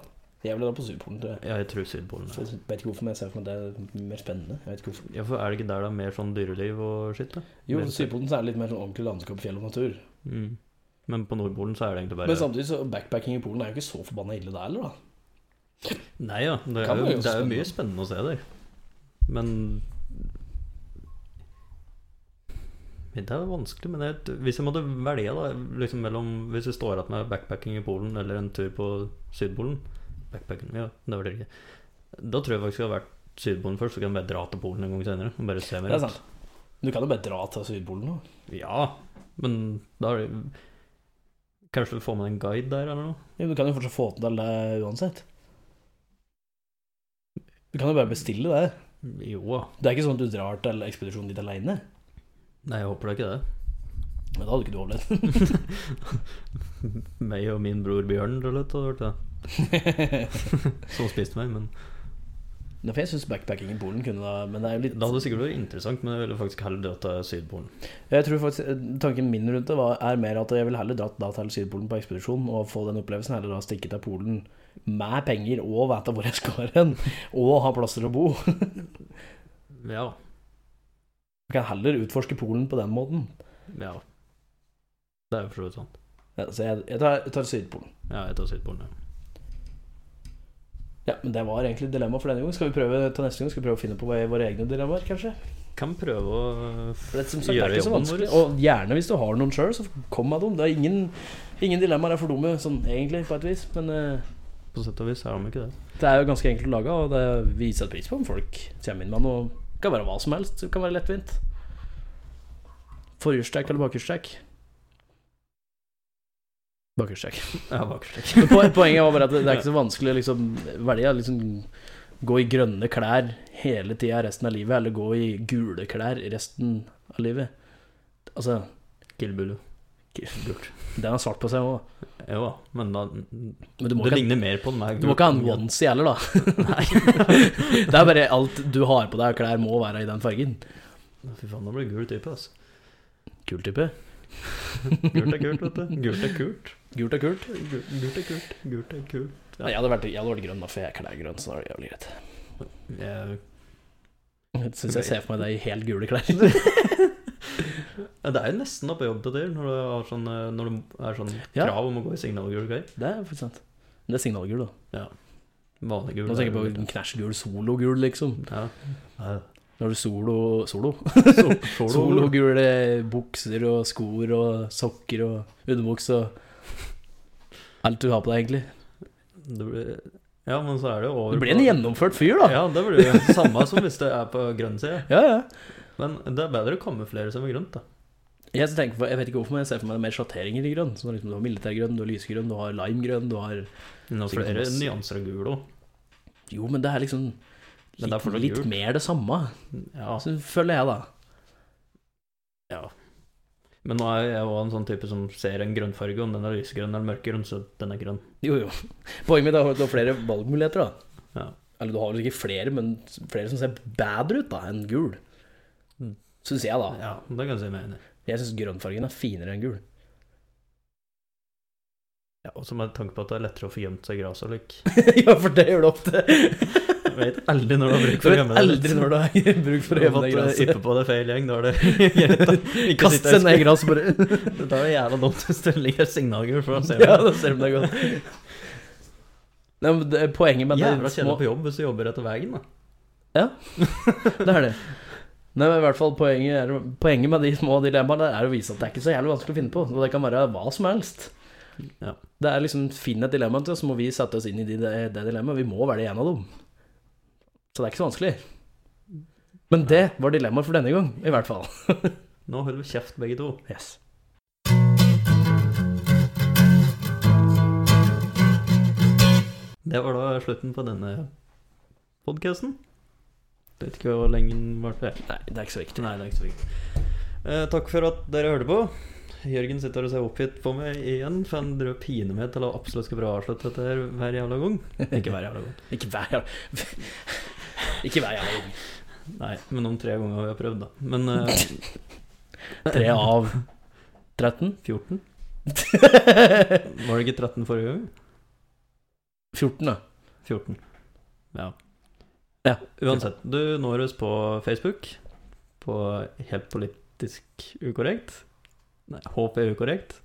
Jeg ville dra på Sydpolen. tror jeg.
Ja, jeg tror Sydpolen.
Jeg
Ja.
vet ikke hvorfor, men jeg ser for meg at det er mer spennende. Jeg vet ikke hvorfor.
Ja, for Er det ikke der det er mer sånn dyreliv og skitt? da?
Jo,
Men-
på Sydpolen så er det litt mer sånn ordentlig landskap, fjell og natur.
Mm. Men på Nordpolen så er det egentlig bare
Men samtidig så backpacking i Polen er jo ikke så forbanna ille der heller, da.
Nei ja, det
sånn- Kan
er,
være
jo,
jo
det er jo mye spennende å se der. Men Men Det er jo vanskelig, men jeg, hvis jeg måtte velge da, liksom mellom Hvis jeg står igjen med backpacking i Polen eller en tur på Sydpolen Backpacking, ja, det var det ikke. Da tror jeg faktisk jeg har vært Sydpolen først, så kan jeg bare dra til Polen en gang senere. Og bare se meg
Det er
rundt.
sant. Du kan jo bare dra til Sydpolen nå.
Ja, men da er det Kanskje du får med en guide der, eller noe?
Jo, du kan jo fortsatt få til det uansett. Du kan jo bare bestille det.
Jo da.
Det er ikke sånn at du drar til ekspedisjonen dit aleine.
Nei, jeg håper da ikke det.
Men da hadde ikke du overlevd.
meg og min bror Bjørn Rødlett hadde vært det. Som spiste meg, men
Nei, for jeg syns backpacking i Polen kunne da Men det er jo litt
Det hadde sikkert vært interessant, men jeg ville faktisk heller dratt til Sydpolen.
Jeg tror faktisk eh, Tanken min rundt det var, er mer at jeg ville heller dratt da til Sydpolen på ekspedisjon og få den opplevelsen, heller da stikke til Polen med penger og vite hvor jeg skal hen, og ha plass til å bo.
Ja.
Jeg kan heller utforske Polen på den måten.
ja. Det er jo for så vidt sant.
Ja, så jeg, jeg, tar, jeg tar Sydpolen.
Ja, jeg tar Sydpolen, ja.
Ja, men det var egentlig dilemma for denne gang. Skal vi prøve til neste gang skal vi prøve å finne på våre våre egne dilemmaer, kanskje?
Kan prøve å øh,
For det, er som sagt, det er
Gjøre
ikke så
jobben
vanskelig.
vår.
Og gjerne hvis du har noen sjøl, så kom med dem. Det er ingen, ingen dilemmaer er for dumme, sånn egentlig, på et vis. Men eh,
På sett og vis er de ikke det.
det er jo ganske enkelt å lage, og det vi setter pris på om folk kommer inn med noe. Det kan være hva som helst. Det kan være lettvint. Forhjulstrekk eller bakhjulstrekk? Bakhjulstrekk.
Ja, bakerst.
Men po- Poenget var bare at det det er ikke så vanskelig å liksom, velge. Liksom, gå i grønne klær hele tida resten av livet, eller gå i gule klær resten av livet. Altså
Killbulu.
Gult. Den har svart på seg òg.
Jo da, men da
Men du må,
Det
ikke,
ligner mer på den her.
du må ikke ha en onesie heller, da.
Nei.
Det er bare alt du har på deg av klær, må være i den fargen.
Fy faen, da blir det gul type, altså.
Kul type.
Gult er kult, vet du. Gult er kult.
Gult er kult.
Gult gult er kult. Gult er kult. Ja.
Nei, Jeg hadde vært, jeg hadde vært grønn, da, for jeg er klærgrønn. Så da er det jævlig greit.
Jeg
Jeg synes jeg ser for meg deg i helt gule klær.
Ja, Det er jo nesten oppe i jobb til det, når du har sånn, eh, når du er sånn
Ja.
krav om å gå i signalgul greier.
Det er faktisk sant. Men Det er signalgul, da.
Vanlig gul. eh,
Nå tenker jeg på en knæsjgul, sologul, liksom.
ja. Ja.
Når du solo Solo?
So, solo.
Sologule bukser og skor og sokker og underbukse og alt du har på deg, egentlig.
Det blir, ja, men så er det jo over
Du blir en gjennomført fyr, da.
Ja, det blir jo det samme som hvis det er på grønn side.
Ja, ja.
Men det er bedre å kamuflere seg med grønt, da.
Jeg, tenker, på- jeg vet ikke hvorfor, men jeg ser for meg det er mer sjatteringer i grønn. Sånn, liksom, du har militærgrønn, du har lysgrønn, du har limegrønn, du har
Nå er det flere
Sikkert masse.
nyanser av gul òg.
Jo, men det er liksom
Men det er
litt,
fortsatt
litt
gult.
mer det samme,
Ja.
så føler jeg, da.
Men nå er jeg jo en sånn type som ser en grønnfarge, om den er lysegrønn eller mørkegrønn, så den er grønn.
Jo, jo. Poenget mitt er at du har flere valgmuligheter, da.
Ja.
Eller du har vel ikke flere, men flere som ser bedre ut da, enn gul.
Mm.
Syns jeg, da.
Ja, det kan jeg si meg enig i.
Jeg syns grønnfargen er finere enn gul.
Ja, og så med tanke på at det er lettere å få gjemt seg i gras og lik.
ja, for det gjør du ofte.
Jeg vet aldri når du har
Du
bruk for å
vet
gjemme deg.
aldri når du har bruk for å gjemme deg i gresset.
eh, Yppe på det feil gjeng, da er det greit å ikke
Kast
sitte her
seg ned i gresset, bare.
og- Det er jo jævla dumt hvis det ligger et signalgul for å se
ja, da ser de deg godt. Nei, men det, poenget med det
Jævla kjedelig på jobb hvis du jobber etter veien, da.
Det er det. Nei, men i hvert fall poenget, er, poenget med de små dilemmaene er å vise at det er ikke så jævlig vanskelig å finne på. Og det kan være hva som helst.
Ja.
Det er liksom Finn et dilemma til oss, så må vi sette oss inn i de- det de dilemmaet. Vi må velge en av dem. Så det er ikke så vanskelig. Men det var dilemmaet for denne gang, i hvert fall.
Nå holder vi kjeft, begge to.
Yes.
Det var da slutten på denne podkasten. Vet ikke hvor lenge den varte.
Nei, det er ikke så viktig.
Nei, det er ikke så viktig. Eh, takk for at dere hørte på. Jørgen sitter og ser oppgitt på meg igjen, for han driver og piner meg til å absolutt skal prøve å avslutte dette her hver jævla gang. Ikke hver jævla gang.
Ikke hver jævla Ikke hver jævla gang.
Nei, men om tre ganger har jeg prøvd, da. Men eh,
Tre av 13?
14? Var det ikke 13 forrige gang?
14, da.
14. Ja.
Ja.
Uansett, du når oss på Facebook, på Helt politisk ukorrekt. Nei, HP ukorrekt.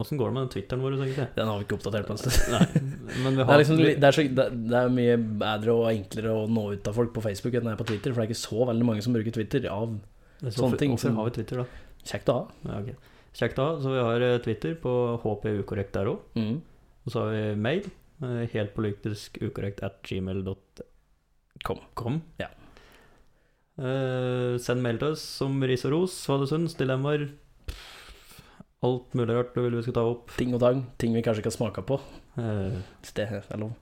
Åssen går det med den Twitteren vår, egentlig?
Den har vi ikke oppdatert på en stund.
Nei, men vi
Det er,
har
liksom, det, er så, det, det er mye bedre og enklere å nå ut av folk på Facebook enn det er på Twitter, for det er ikke så veldig mange som bruker Twitter. Av sånne
sånne
ting
ting. Hvorfor
som-
har vi Twitter, da?
kjekt å ha.
Ja, ok. Kjekt da, så vi har eh, Twitter på HP ukorrekt der òg.
Mm.
Og så har vi mail. eh, Helt politisk ukorrekt at gmail.com.
Ja.
Eh, send mail til oss som ris og ros, hva du syns, dilemmaer pff, Alt mulig rart du vil vi skal ta opp.
Ting og tang. Ting vi kanskje ikke har smaka på.
Eh,
Hvis det er lov.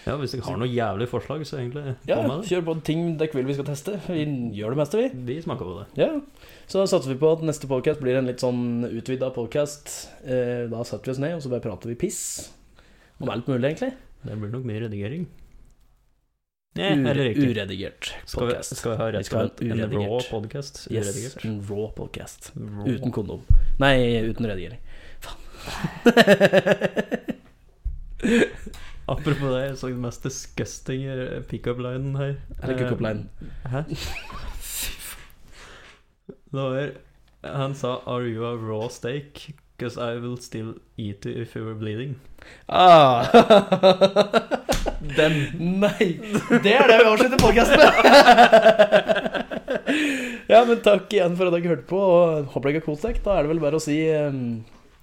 ja, hvis dere har noe jævlig forslag, så egentlig
Ja,
på med det.
kjør på ting dere vil vi skal teste. Vi gjør det meste, vi.
Vi smaker på det.
Ja. Så da satser vi på at neste podcast blir en litt sånn utvida podcast. Eh, Da setter vi oss ned, og så bare prater vi piss. Om alt mulig, egentlig.
Det blir nok mye redigering.
Eh,
Nei, eller
Ure-
ikke.
Uredigert
Skal vi,
podcast.
skal vi ha
Vi
rett
skal ha
og slett en
uredigert.
rå podkast?
Yes, en raw podcast.
Raw.
Uten kondom. Nei, uten redigering. Faen.
Apropos det, jeg så den mest disgusting eh, pickup-linen her.
Eller kukkopline.
Eh, Hæ? Det var Han sa 'Are you a raw steak? Because I will still eat you if you were bleeding'.
Ah. Den. Nei! Det er det vi avslutter podkasten med! ja, men takk igjen for at dere hørte på, og håper dere har kost dere. Da er det vel bare å si ehm,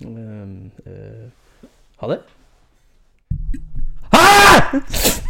ehm, eh, ha det. Ha det!